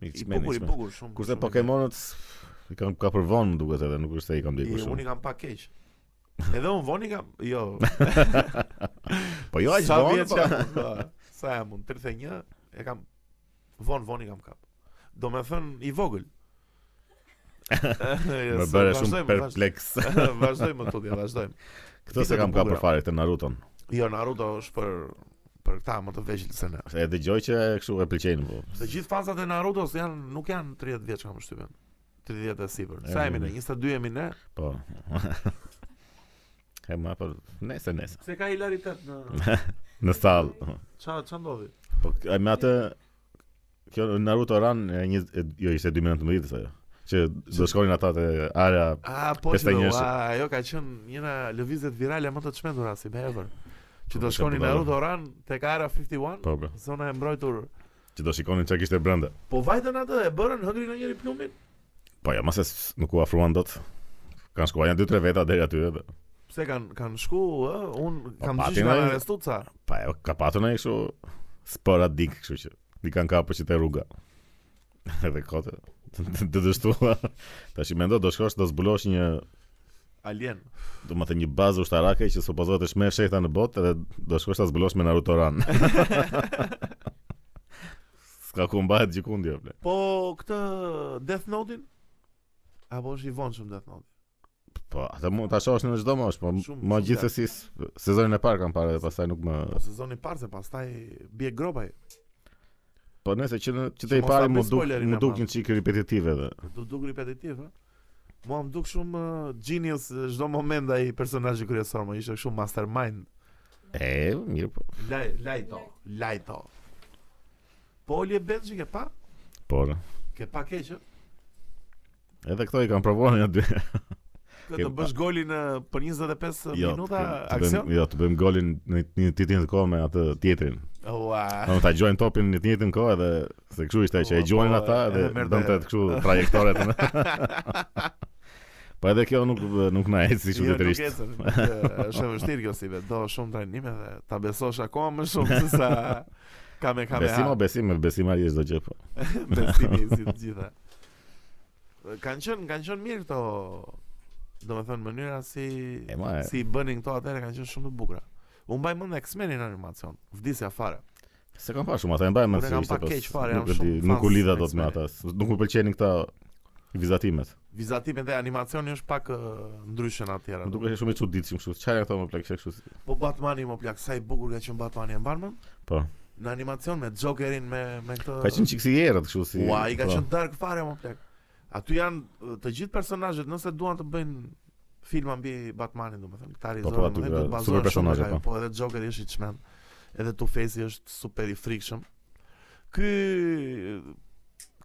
Mik I çmend, bukur, i çmend. bukur shumë. Kurse shumë i bukur. Pokemonët i kanë ka për vonë më duket edhe nuk është se i kam I, djegur unë i shumë. kam pa keq. Edhe unë voni kam, jo. Po jo aq sa vonë. vjeç po. jam unë, po. Sa jam unë? 31 e kam von voni kam kap. Do me thënë i vogël. Më Më bëre shumë perpleks. Vazhdojmë më tutje, vazhdojmë. Këtë se Vite kam të ka bukura. për fare këtë Naruton. Jo Naruto është për për këta më të vegjël se ne. E dëgjoj që kështu e pëlqejnë po. Të gjithë fansat e Narutos janë nuk janë 30 vjeç kam shtypën. 30 e sipër. Sa E, jemi ne? unë- 22 jemi ne. Po. E Po. ma për nese nese Se ka hilaritet në Në sallë ça ça ndodhi? Po k- me atë Kjo Naruto Ran e një, e, Jo ishte 2019 sa jo Që do shkonin ata te area A po Pesta që do, njerëzit. a, ajo ka qenë njëra lëvizjet virale më të çmendura si ever. Që do Po, shkoni sa Naruto budalla. Ran tek Area 51, Po bra zona e mbrojtur. Që do shikonin çka kishte brenda Po vajtën atë e bërën hëngrin në njëri plumin. Po ja ma se s- nuk u afruan dot Kanë shkuar janë 2-3 veta deri aty edhe Pse kanë kanë shku, ë, un Po, kam pati gjithë nga ndaj- arrestu ca. Pa e ka patur në kështu Sporadik kështu që Di kanë kapur që te rruga Edhe kote Të dështua Tash i mendo do shkosh do zbulosh një Alien. Do më të një bazë ushtarake që supozohet është më e fshehta në botë dhe do shkosh ta zbulosh me Naruto Ran. Ska ku mbahet gjikundi jo, apo. Po këtë Death Note-in apo është i vonshëm Death Note? Po, atë mund ta shohësh në çdo moshë, po Shumë, më shumë gjithsesi s- sezonin e parë kam parë dhe pastaj nuk më Po sezoni i parë se pastaj bie gropaj. Po nëse që në, që Që te i mos pari hapi më duk spoilerin më e dukin çik repetitive dhe. Do duk repetitiv, ha? Mua më duk shumë uh, genius uh, çdo moment ai personazhi kryesor, më ishte shumë mastermind. E, mirë po. Laj, lajto, lajto. Po Olje Benji ke pa? Por, Ke pa keq, ë? Po, edhe këto i kanë provuar një dy. Këtë Ke Jo, të bësh golin uh, për 25 minuta të- të bëjmë- aksion? Jo, të bëjmë golin në një titin të kohë me atë tjetrin. Ua. Do ta gjojnë topin në të njëjtën kohë edhe se kështu ishte që Po, e gjuajnë po, ata edhe dhe merrte- donte të kështu trajektoret. po edhe kjo nuk nuk na eci Jo, shumë nuk detyrist. ecën. nuk, ë, Është e vështirë kjo si be. Do shumë trajnime dhe ta besosh akoma më shumë se sa ka me kameha. Besim o besim, me besimari është çdo gjë po. Besimi si të gjitha. Kanë qenë kanë qenë mirë këto do me thënë mënyra si E ma e- si i bënin këto atëherë kanë qenë shumë të bukura. U mbaj mend X-Menin në animacion. Vdisja fare. Se kam parë shumë ata, e mbajmë Unë e se kam ishte pa po. keq fare, Nuk jam e di, shumë nuk u fans lidha dot me X-Menit. ata. s- Nuk më pëlqenin këta vizatimet. Vizatimet e animacioni është pak eh, ë, ndryshe në atëherë. Më duket shumë i çuditshëm kështu. Çfarë janë këto më plak kështu? si- Po Batmani më plak, sa i bukur ka qenë Batmani e mban mend? Po. Në animacion me Jokerin me me këtë Ka qenë çik si erët kështu si. Po. Ua, i ka po. qenë dark fare më plak. Aty janë ë, të gjithë personazhet, nëse duan të bëjnë filma mbi Batmanin, domethënë, këta Po, rizorë, po, aty domethënë, ka do të super bazohen shumë personazhe, tek ajo. Po, edhe Jokeri është i çmend. Edhe Two-Face është super i frikshëm. Ky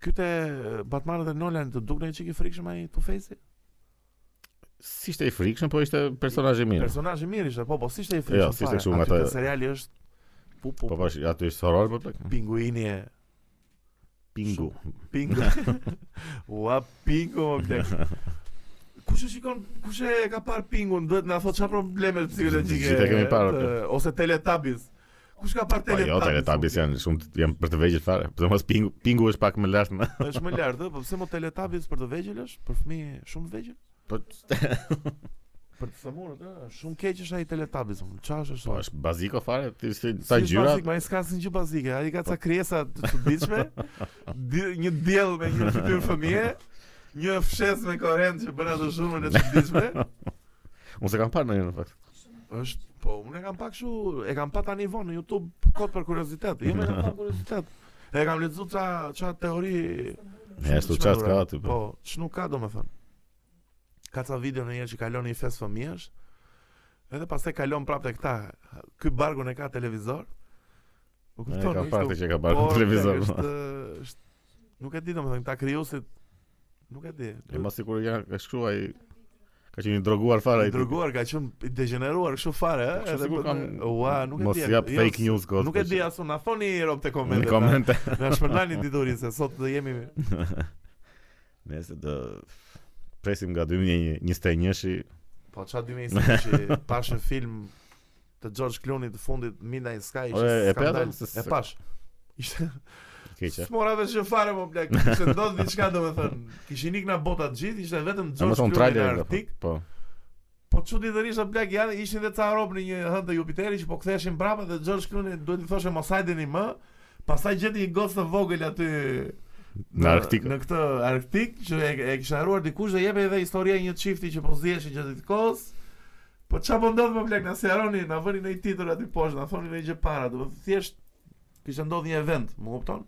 ky te Batmani dhe Nolan të duk në çik i frikshëm ai Two-Face? Si ishte i frikshëm, po ishte personazh i mirë. Personazhi i mirë ishte, po, po s'ishte i frikshëm. Jo, s'ishte fare. kështu nga Aty ta- te seriali është pu pu. Po po, aty është horror po plak. pinguini e Pingu. Pingu. Ua, Pingu, më blek. Kush e shikon, kush e ka parë Pingun, duhet na thotë çfarë probleme psikologjike. Gjithë e kemi parë, të- Ose Teletubbies. Kush ka parë Po jo, Teletubbies? Teletubbies janë shumë janë për të vegjël fare. Për të mos pingu, pingu është pak më lart në. Është më lart, ë, po pse mo Teletubbies për të vegjël është? Për fëmijë shumë të vegjël? Po Për të thëmurët, ë, shumë keq është ai Teletubbies. më, Çfarë është? po ë? është baziko fare, ti si Si ta është gjyra. bazik, Ma i s'ka asnjë gjë bazike, ai ka ca krijesa të çuditshme. di- Një diell me një fytyrë fëmije, një fshes me korrent që bën atë shumën e çuditshme. Unë se kam parë ndonjë në fakt. është po unë e kam pak kështu e kam pa tani vonë në YouTube kot për kuriozitet jo më kam pa kuriozitet e kam lexuar ça ça teori E ashtu shumë të çast ka shmendura. aty po. po ç'nuk ka domethënë ka ca video në herë që kalon një fest fëmijësh edhe pastaj kalon prapë te këta ky bargun e ka televizor u E kupton ka ishte parë u- të që ka parë në por, televizor. po. është është nuk e di domethënë këta krijuesit nuk e di E ma sikur janë ka shkruaj ka qenë i droguar fare I ai. dërguar ka qenë i degeneruar kështu fare, Po, ë? kështu sigur për- kam- Ua, nuk e di. Mos jap jo, fake news kot. po, Nuk e di asu, na thoni rob të Në komente. Koment. komente. Na shpërndani diturin se sot do jemi po. Nëse do presim nga 2021-shi po çfarë dy mesi që pash një film të George Clooney të fundit Midnight Sky ishte Ore, e skandal. patëm se- E pash. Ishte keqe. smora vesh që fare më blek. Ishte ndodh diçka domethënë. Kishin ikë na bota të gjithë, ishte vetëm Në më George thonë Clooney në trailer Artik. Po, Po çuditërisht apo blek janë ishin edhe ca rob në një hënë të Jupiterit që po ktheheshin mbrapa dhe George Clooney duhet i thoshë mos hajdeni më. Pastaj gjeti një gocë të vogël aty në Arktik. Në këtë Arktik që e, e kisha haruar dikush dhe jepej edhe historia e një çifti që po ziheshin gjatë të kohës. Po çfarë po ndodh më blek na sjaroni, na vëni në një titull aty poshtë, na thoni në gjë para, do të thotë thjesht kishte ndodhur një event, më kupton?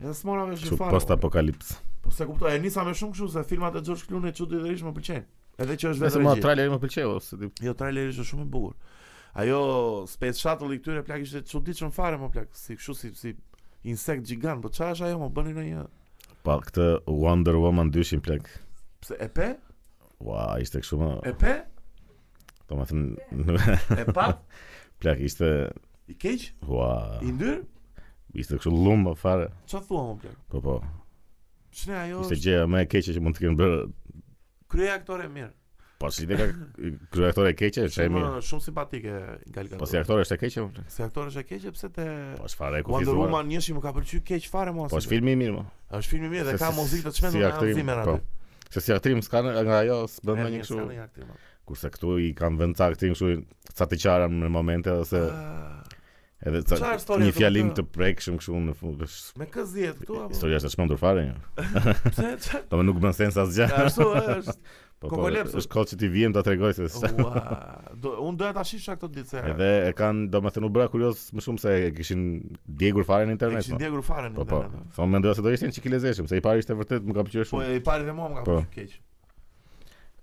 Edhe smora vesh Kështu që fare. post apokalips. Po se kuptoj, e nisa me shumë kështu se filmat e George Clooney çuditërisht më pëlqejnë. Edhe që është Nëse vetëm më regji. traileri më pëlqeu ose ti Jo, traileri është shumë i bukur. Ajo Space Shuttle i këtyre plak ishte çuditshëm fare më plak, si kështu si si insekt gjigant, po çfarë është ajo, më bëni ndonjë. pa këtë Wonder Woman 200 plek. Pse e pe? Ua, ishte kështu më, E pe? domethënë E pa? plek ishte I keq? ua, I ndyr? ishte kështu lumë fare. Çfarë thua më plak? Po po. Shne ajo Ishte është gjëja më e keqe që mund të kenë bërë. krye aktore e mirë. Po si te ka kryeaktore e keqe, është e Shumë mirë. shumë simpatike Gal Po si Gadot. aktore është e keqe, më plak. Si aktore është e keqe pse te Po çfarë e Wonder kufizuar. Woman njëshi më ka pëlqyer keq fare mos. Po është filmi i mirë, mo. Është film i mirë dhe Se ka si- muzikë të si çmendur nga aktrim, Hans Zimmer po. aty. Se si aktrim s'ka në- nga ajo s'bën Merr ndonjë një kështu. skenë nga aktimi. Kurse këtu i kanë vënë ca aktrim kështu ca të qara në momente ose Ah, edhe ca çfarë story një është, fjalim domethënë? të prekshëm kështu në fund. është- Me kë zihet këtu apo? Historia është e çmendur fare. një. Pse? Çfarë? Domethënë nuk bën sens asgjë. Ashtu është. Po po. Kokolepsë. Është kohë që ti vjen ta tregoj Oh, se sa. Ua, do unë doja ta shisha këto ditë se. Edhe e kanë domethënë u bëra kurioz më shumë se e kishin djegur fare në e internet. kishin mo. djegur fare në Po po. internet. Thonë mendoja se do ishte një çik i lezeshëm, se i pari ishte vërtet më ka pëlqyer Po shumë. e i pari dhe mua më ka Po. pëlqyer keq.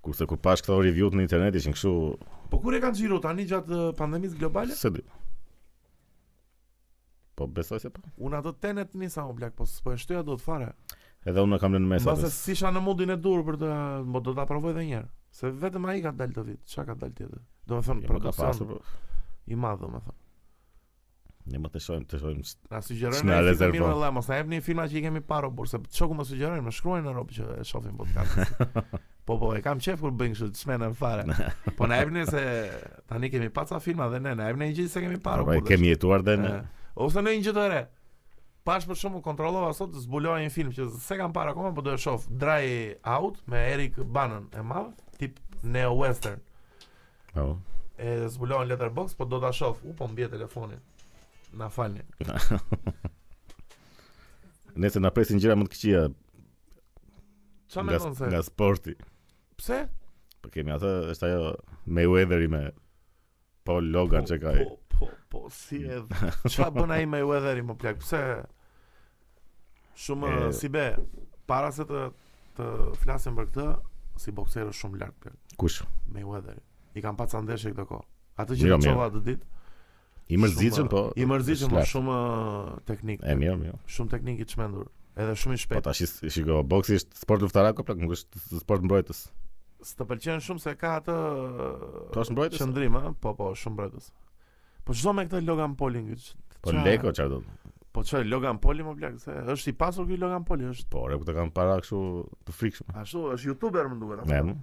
Kurse kur pash këto review në internet ishin kështu Po kur e kanë xhiru tani gjatë eh, pandemisë globale? se di. Po besoj se po. Unë ato tenet nisa më blaq, po s- po e shtoja dot fare. Edhe unë e kam lënë po. mes. Mbase atës. si isha në mundin e dur për të mo do ta provoj edhe një herë. Se vetëm ai ka dalë të vit, çka ka dalë tjetër. Domethënë Jo, nuk ka pasur, produksion po. i madh domethënë. Ne më të shohim, të shohim. s- Na sugjerojnë S'na na rezervon. rezervon. Mirë valla, mos na jepni filma që i kemi parë por se çoku më sugjerojnë, më shkruajnë në Europë që e shohim podcast. po po, e kam qef kur bëjnë kështu çmena fare. Po na jepni se tani kemi pa ca filma dhe ne na jepni një gjë se kemi parë. Po, po, e dhe- kemi jetuar dhe ne. E, Ose në një gjë të re. Pash për shkakun kontrollova sot zbulova një film që s'e kam parë akoma, por do e shoh. Dry Out me Eric Bannon e madh, tip neo western. Po. E zbulova në Letterboxd, po do ta shoh. U po mbje telefonin. Na falni. Nëse na presin gjëra më të këqija Çfarë nga, mendon se? nga sporti. Pse? Po kemi atë, është ajo Mayweatheri me Paul Logan që ka. Po, po, po, si e Qa bën ai Mayweatheri më plak Pse Shumë E- si be Para se të, të flasim për këtë Si bokser është shumë lart plak Kush? Mayweatheri I kam pa ca ndeshje këtë kohë Atë që Mira, të mira. qova të ditë Jo, I mërzitshëm shumë, po. I mërzitshëm është po, lart. shumë uh, teknik E mirë, mirë. Shumë teknik i çmendur Edhe shumë i Po shpejt tash is- shiko, boksi është sport luftarak, po plak, nuk është sport mbrojtës. Së të pëlqen shumë se ka atë Po është mbrojtës? Qëndrim, ë? po, po, shumë mbrojtës Po çdo me këtë Logan Paulin këtë Po leko çfarë do? të- Po çfarë Logan Pauli më plak se është i pasur ky Logan Pauli është Po, re, ku të kanë para kështu të frikshme. ashtu është youtuber më duket. Ne, apo?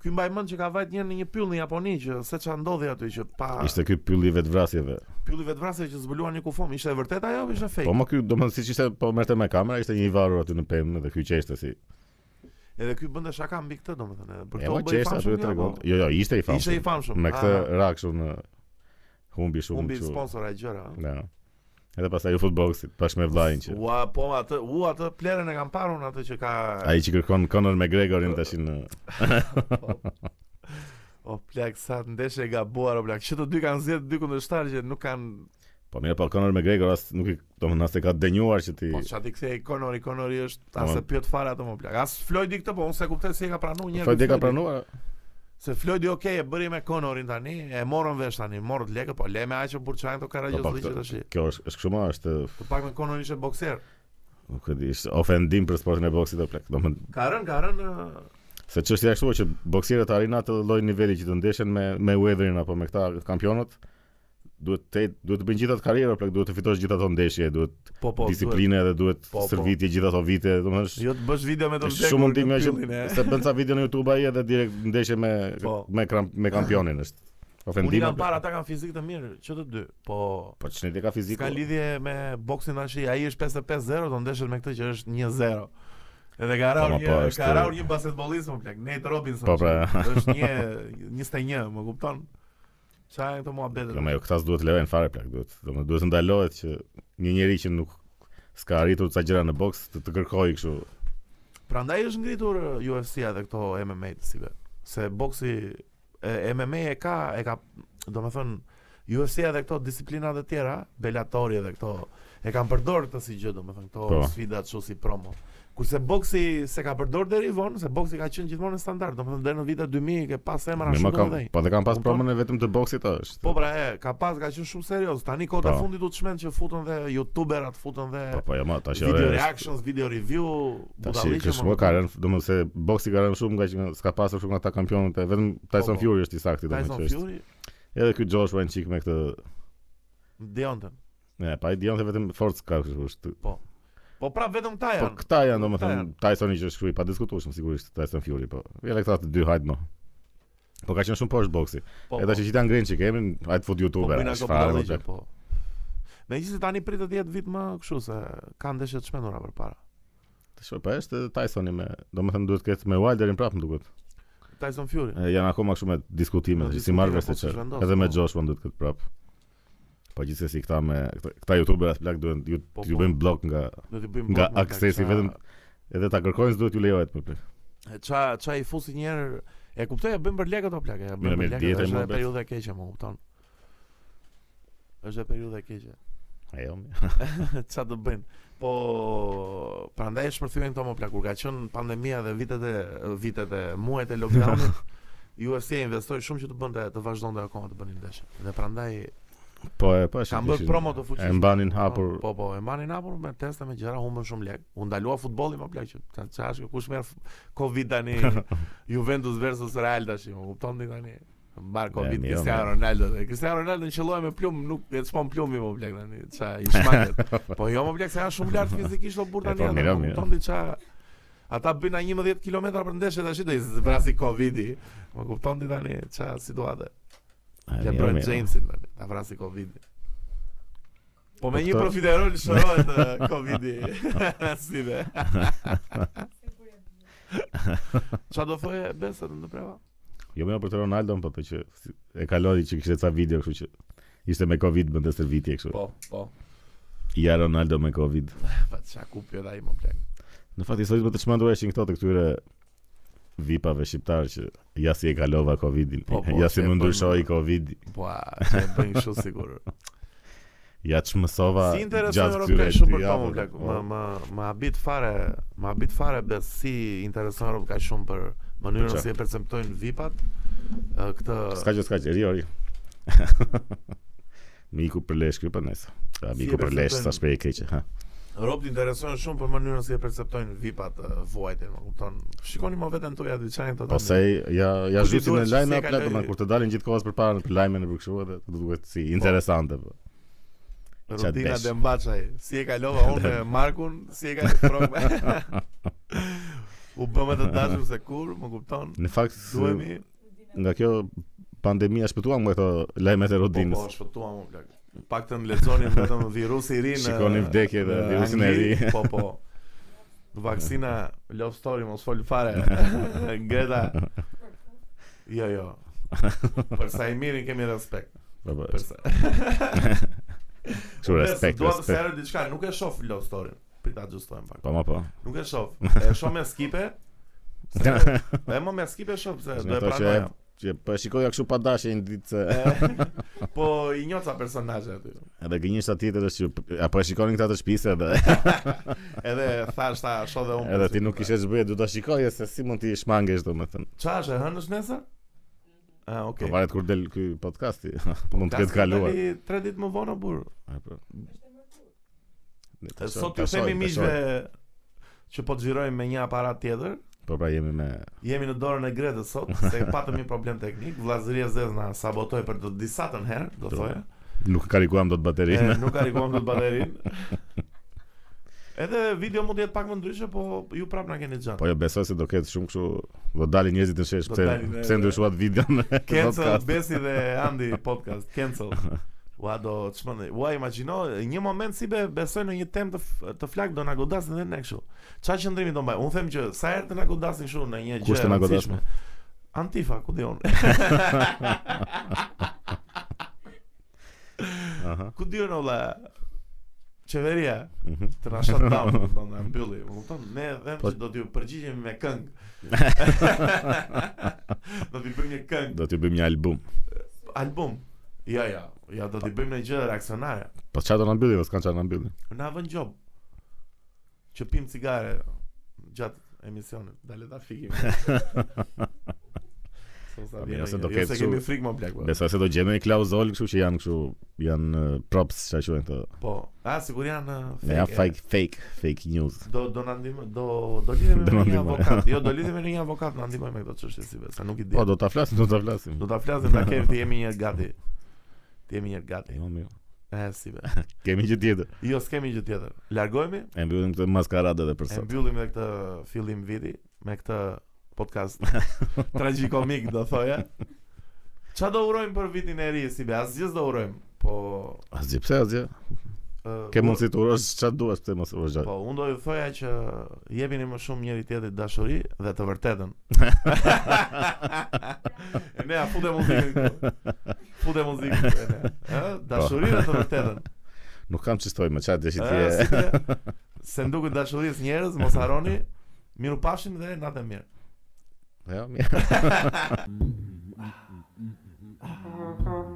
Ky mbaj mend që ka vajt një në një pyll në Japoni që se ç'a ndodhi aty që pa ishte ky pylli vetvrasjeve. pylli vetvrasje që zbuluan një kufom, ishte e vërtet ajo apo ishte Po fake? më ky, domethënë siç ishte, po merrte me kamera, ishte një i varur aty në pemë dhe ky qeshte si. Edhe ky bënte shaka mbi këtë domethënë. edhe Për E këtë mo u bë i qeshte aty e famshëm. kjo, tregon. apo? Jo, jo, ishte i famshëm. po. Ishte i famshëm. me këtë aha, rak kështu në humbi shumë humbi kështu. sponsor ai gjëra. ëh. Ne. Edhe pastaj u futbollsit bashkë me vllain që Ua, po atë, u atë plerën e kam parë unë atë që ka ai që kërkon Conor McGregorin tash në O plak sa ndeshje e gabuar o plak. Çto dy kanë zgjedh dy kundërshtar që nuk kanë Po mirë, po Conor McGregor as nuk i, domethënë as e ka dënjuar që ti Po çati kthej Conori, Conori është Po, as e ma- pyet fare atë më plak. As Floydi këtë po unë se kuptoj se e ka pranuar një herë. Po ky dhe ka Floydi. pranuar. Se Floydi okay e bëri me Conorin tani, e morën vesh tani, morët lekë, po le me aq që burçan këto Po, po, karagjozi që tash. Kjo është është kështu më është Të pak me Conor ishte bokser. nuk e di, është ofendim për sportin e boksit apo plak. Domethënë Ka rënë, ka rënë. ë, se çështja është kështu që boksierët arrin atë lloj niveli që të ndeshen me me Weatherin apo me këta kampionët. Duhet të duhet të bëjnë gjithë atë karrierë, plak, duhet të fitosh gjithë ato ndeshje, duhet Po po. disipline dhe duhet Po, po. shërvitje gjithë ato vite, domethënë duhet. është Jo të bësh video me të është shumë vdekur ndim nga që pyllin, e. se bën ca video në YouTube ai edhe direkt ndeshje me Po. me kram, me kampionin është. Unë i Ofendim. kam apo- parë ata kanë fizik të mirë, që të dy. Po Po ç'ne ka fizikë. Ka lidhje me boksin tash, ai është 55-0, do ndeshet me këtë që është 1-0. Edhe ka Po, rau ma, një, po, ka është- rau një basketbollist më plak, Nate Robinson. Po, pra. që Është një 21, më kupton? Çfarë janë këto muhabete? Jo, më jo, këta s'duhet lërën fare plak, duhet, domethënë duhet të ndalohet që një njeri që nuk s'ka arritur ca gjëra në boks të, të kërkojë kështu. Prandaj është ngritur uh, UFC-a dhe këto MMA të si be. Se boksi e, MMA e ka e ka, domethënë UFC-ja dhe këto disiplinat e tjera, Bellatori dhe këto e kanë përdorur këtë si gjë, domethënë këto Po. sfida kështu si promo. Kurse boksi se ka përdor deri vonë, se boksi ka qenë gjithmonë në standard, domethënë deri në vitet 2000 ke pas emra Ne shumë më të kam, mëdhenj. po dhe kam pas Kupton? promën e vetëm të boksit është. Po pra e, ka pas ka qenë shumë serioz. Tani kohët e Po. fundit u të shmenë që futën dhe youtuberat, futën dhe po, po, jo, ma, tash video reactions, video review, Tash që budalliqe. shumë mo. ka rënë, domethënë se boksi ka rënë shumë nga që s'ka pasur shumë nga ata kampionët, e vetëm Tyson po. Fury është i saktë Tyson domethënë që është. Fury, Edhe ky Joshua një çik me këtë, Deontën. ne, pa i dion se vetëm forcë ka kështu është. Po pra vetëm këta Po janë. këta janë Këta domethënë Tysoni që është ky i padiskutueshëm sigurisht Tyson Fury, po. Edhe këta të dy hajt më. Po ka qenë shumë poshtë boksi. Po, Edhe po, që qitan Green që kemi, hajt fut po, youtuber. bëjnë ato çfarë, budalliqe, po. po. Me gjithë se tani pritet jetë vit më kështu se kanë deshe të shmenura për para. Tash, po është Tysoni me, domethënë duhet të ketë me Wilderin prapë më duket. Tyson Fury. E, janë akoma kështu me diskutime, Me që si marrë diskutime, vesh po, si çfarë. zhvendos, Edhe me po. Joshua duhet këtë prap. Po gjithsesi këta me këta, këta youtuberat plak duhen ju Po, ju po. bëjnë blok nga Do t'i bëjmë Nga bot me aksesi qa- vetëm- edhe ta kërkojnë s'duhet ju po, lejohet për plak. Qa, qa i fusi njerë E kuptoj, e bëjmë për lekë ato plakë, Mira, e bëjmë për mirë, lekë, dieta i është dhe mohabet. periudha e keqe, më kupton. Është dhe periudha e keqe. E jo. mi. ça të bëjnë. Po prandaj e shpërthyen këto më plak kur ka qenë pandemia dhe vitet e vitet e muajt e lockdownit. UFC investoi shumë që të bënte të vazhdonte akoma të bënin ndeshje. Dhe prandaj Po e po e kanë bërë ishin- promo të fuqishme. E mbanin hapur. Po po, e mbanin hapur me teste me gjëra, humbën shumë lek. U ndalua futbolli më plak që ça ça është kush merr Covid tani Juventus versus Real tash, më kupton ti tani. Mbar Covid mirë, Cristiano jo, mirë. Ronaldo. dhe Cristiano Ronaldo qelloi me plum, nuk e çmon plumi më plak tani. Ça i shmaket. Po jo më plak se janë shumë lart fizikisht o burr E, tani. po, ata, mirë, më mirë. Kupton ti ça Ata bëjnë a 11 kilometra për ndeshje tash do i zbrasi Covidi. Më kupton ti tani ça situatë. E, Ja mirë, Jamesin mirë. Jamesin tani, ta vrasi Covidi. Po me Po një këto- profiterol shërohet eh, Covidi. si be. Qa do thoje Besa të ndërpreva? Jo më për të Ronaldo, po të që si- e kaloi që kishte ca video kështu që ishte me Covid bënte stërvitje kështu. Po, po. Ja Ronaldo me Covid. Pa qa kupjo da i më plek. Në fakt historitë më të çmendur ishin këto të këtyre vipave shqiptar që ja si e kalova Covidin, Po, po, ja si që e më bën- ndryshoi Covid, Po, a, që e bëjnë shumë sigur. ja çmësova Si interesojnë Europë shumë për to më Po. plek. Më, më, më abit fare, më abit fare Bes si interesojnë Europë ka shumë për Për mënyrën qa? si e perceptojnë vipat. eh, Këtë... Ska që ska që, eri, eri. Mi iku për lesh kjo për nesër. A mi Si iku e për lesh perceptojnë? sa shpejt e keqe, ha. Robt interesojnë shumë për mënyrën si e perceptojnë VIP-at uh, vuajtjen, më kupton. Shikoni më veten tuaja dyqanin tonë. Po se ja ja Ku ti zhysin Po, duhet në që si lajme e apo kaloj- domethënë kur të dalin gjithkohës përpara në lajme në kështu edhe të duket si interesante. po. qa rutina desh. dhe mbaçaj. Si e kalova unë me Markun, si e ka Frog. U bëmë të dashur se kur, më kupton. Në fakt Duhemi nga kjo pandemia shpëtuam nga këto lajmet e po rodinës. po shpëtuam unë plak. Paktën lexonin vetëm virusi i ri në Shikoni vdekje dhe në virusin e Angli, ri. Po po. Vaksina Love Story mos fol fare. Greta. Jo, jo. Për sa i mirin kemi respekt. Po po. Për sa. Kështu respekt, Dua të respekt. serë diçka, nuk e shoh Love Story. Prit ta ajustojmë pak. Po ma po. Nuk e shoh. E shoh me skipe. Se, e më me skipe shoh se Është do e ato që pranoja. Që po e shikoja kështu pa dashje një ditë se E, Po i njoca personazhe aty. edhe gënjeshta tjetër është që apo e shikonin këta të shtëpisë edhe Po, Edhe thash ta shoh dhe unë. edhe ti nuk kishe ç'bëje, do ta shikoje se si mund ti shmangesh domethënë. Çfarë është e hënësh nesër? Ah, Po okay. varet kur del ky podcasti, Po, mund të ketë kaluar. 3 ditë më vonë burr. E, po. Ne të shoh- Sot të ju shohim, të themi miqve shohim. që po të xhirojmë me një aparat tjetër. Po pra jemi me Jemi në dorën e Gretës sot, se patëm një problem teknik. Vllazëria e Zezna sabotoi për të disatën herë, do Do. thoja. nuk karikuam dot E, baterinë. nuk arrikuam dot baterinë. Edhe video mund të jetë pak më ndryshe, po ju prap na keni Po gjatë. jo besoj se do ketë shumë kështu do dalin njerëzit në shesh Do pse dalin, e, pse ndryshuat videon. në Cancel podcast. Besi dhe Andi podcast, cancel. Ua do çmend. Ua imagjino një moment si be besoj në një temë të f- të flak do na godasin edhe ne kështu. Çfarë qëndrimi do mbaj? Unë them që sa herë të na godasin kështu në një gjë. Kush të na e godas, rëndësishme. Antifa, ku di unë. Aha. Ku di unë valla. Qeveria mhm. të na shut down, do të na mbylli. Më kupton? Ne them Po- që do t'ju përgjigjemi me këngë. do t'i bëjmë një këngë, Do t'ju bëjmë një album. album. Ja, ja, ja do t'i bëjmë një gjë reaksionare. Po çfarë do na mbyllin, s'kan çfarë na mbyllin. Na vën gjob. Që pim cigare gjatë emisionit. Dale ta fikim. Po, Sosa mirë, vjen. Jo, se Se do do ketë se kështu- kemi frikë më blek. po. Besoj se do gjejmë një klauzol kështu që janë kështu janë eh, props çfarë quhen këto. Po, a sigur janë uh, Ne janë e. fake fake fake news. Do do na ndihmë, do do lidhemi Do me na një ndihmoj. avokat. Jo, do lidhemi me një avokat, na ndihmoj me këtë çështje si vetë, sa nuk i di. Po do ta flasim, do ta flasim. Do ta flasim ta kemi, ti jemi një herë gati. Ti jemi një herë gati. Jo, mirë. E si be. Kemi gjë tjetër. Jo, s'kemi gjë tjetër. Largohemi, E mbyllim këtë maskaradë edhe për e sot. mbyllim me këtë fillim viti, me këtë podcast tragjikomik do thoja. Qa do urojmë për vitin e ri, si be, asgjë s'do urojmë, po... Asgjë pse asgjë. Uh, Ke mundësi të urosh çfarë duash pse mos urosh gjë. Po, unë do ju thoja që jepini më shumë njëri tjetrit dashuri dhe të vërtetën. e nea, fute muzikën këtu. Fute muzikën e nea. Ë, Dashuri dhe të vërtetën. Nuk kam çistoj më çfarë deshi ti. Ë, si të- Se nduket dashurisë njerëz, mos harroni, miru pafshim dhe natë e mirë. Jo, mirë. Mm-hmm.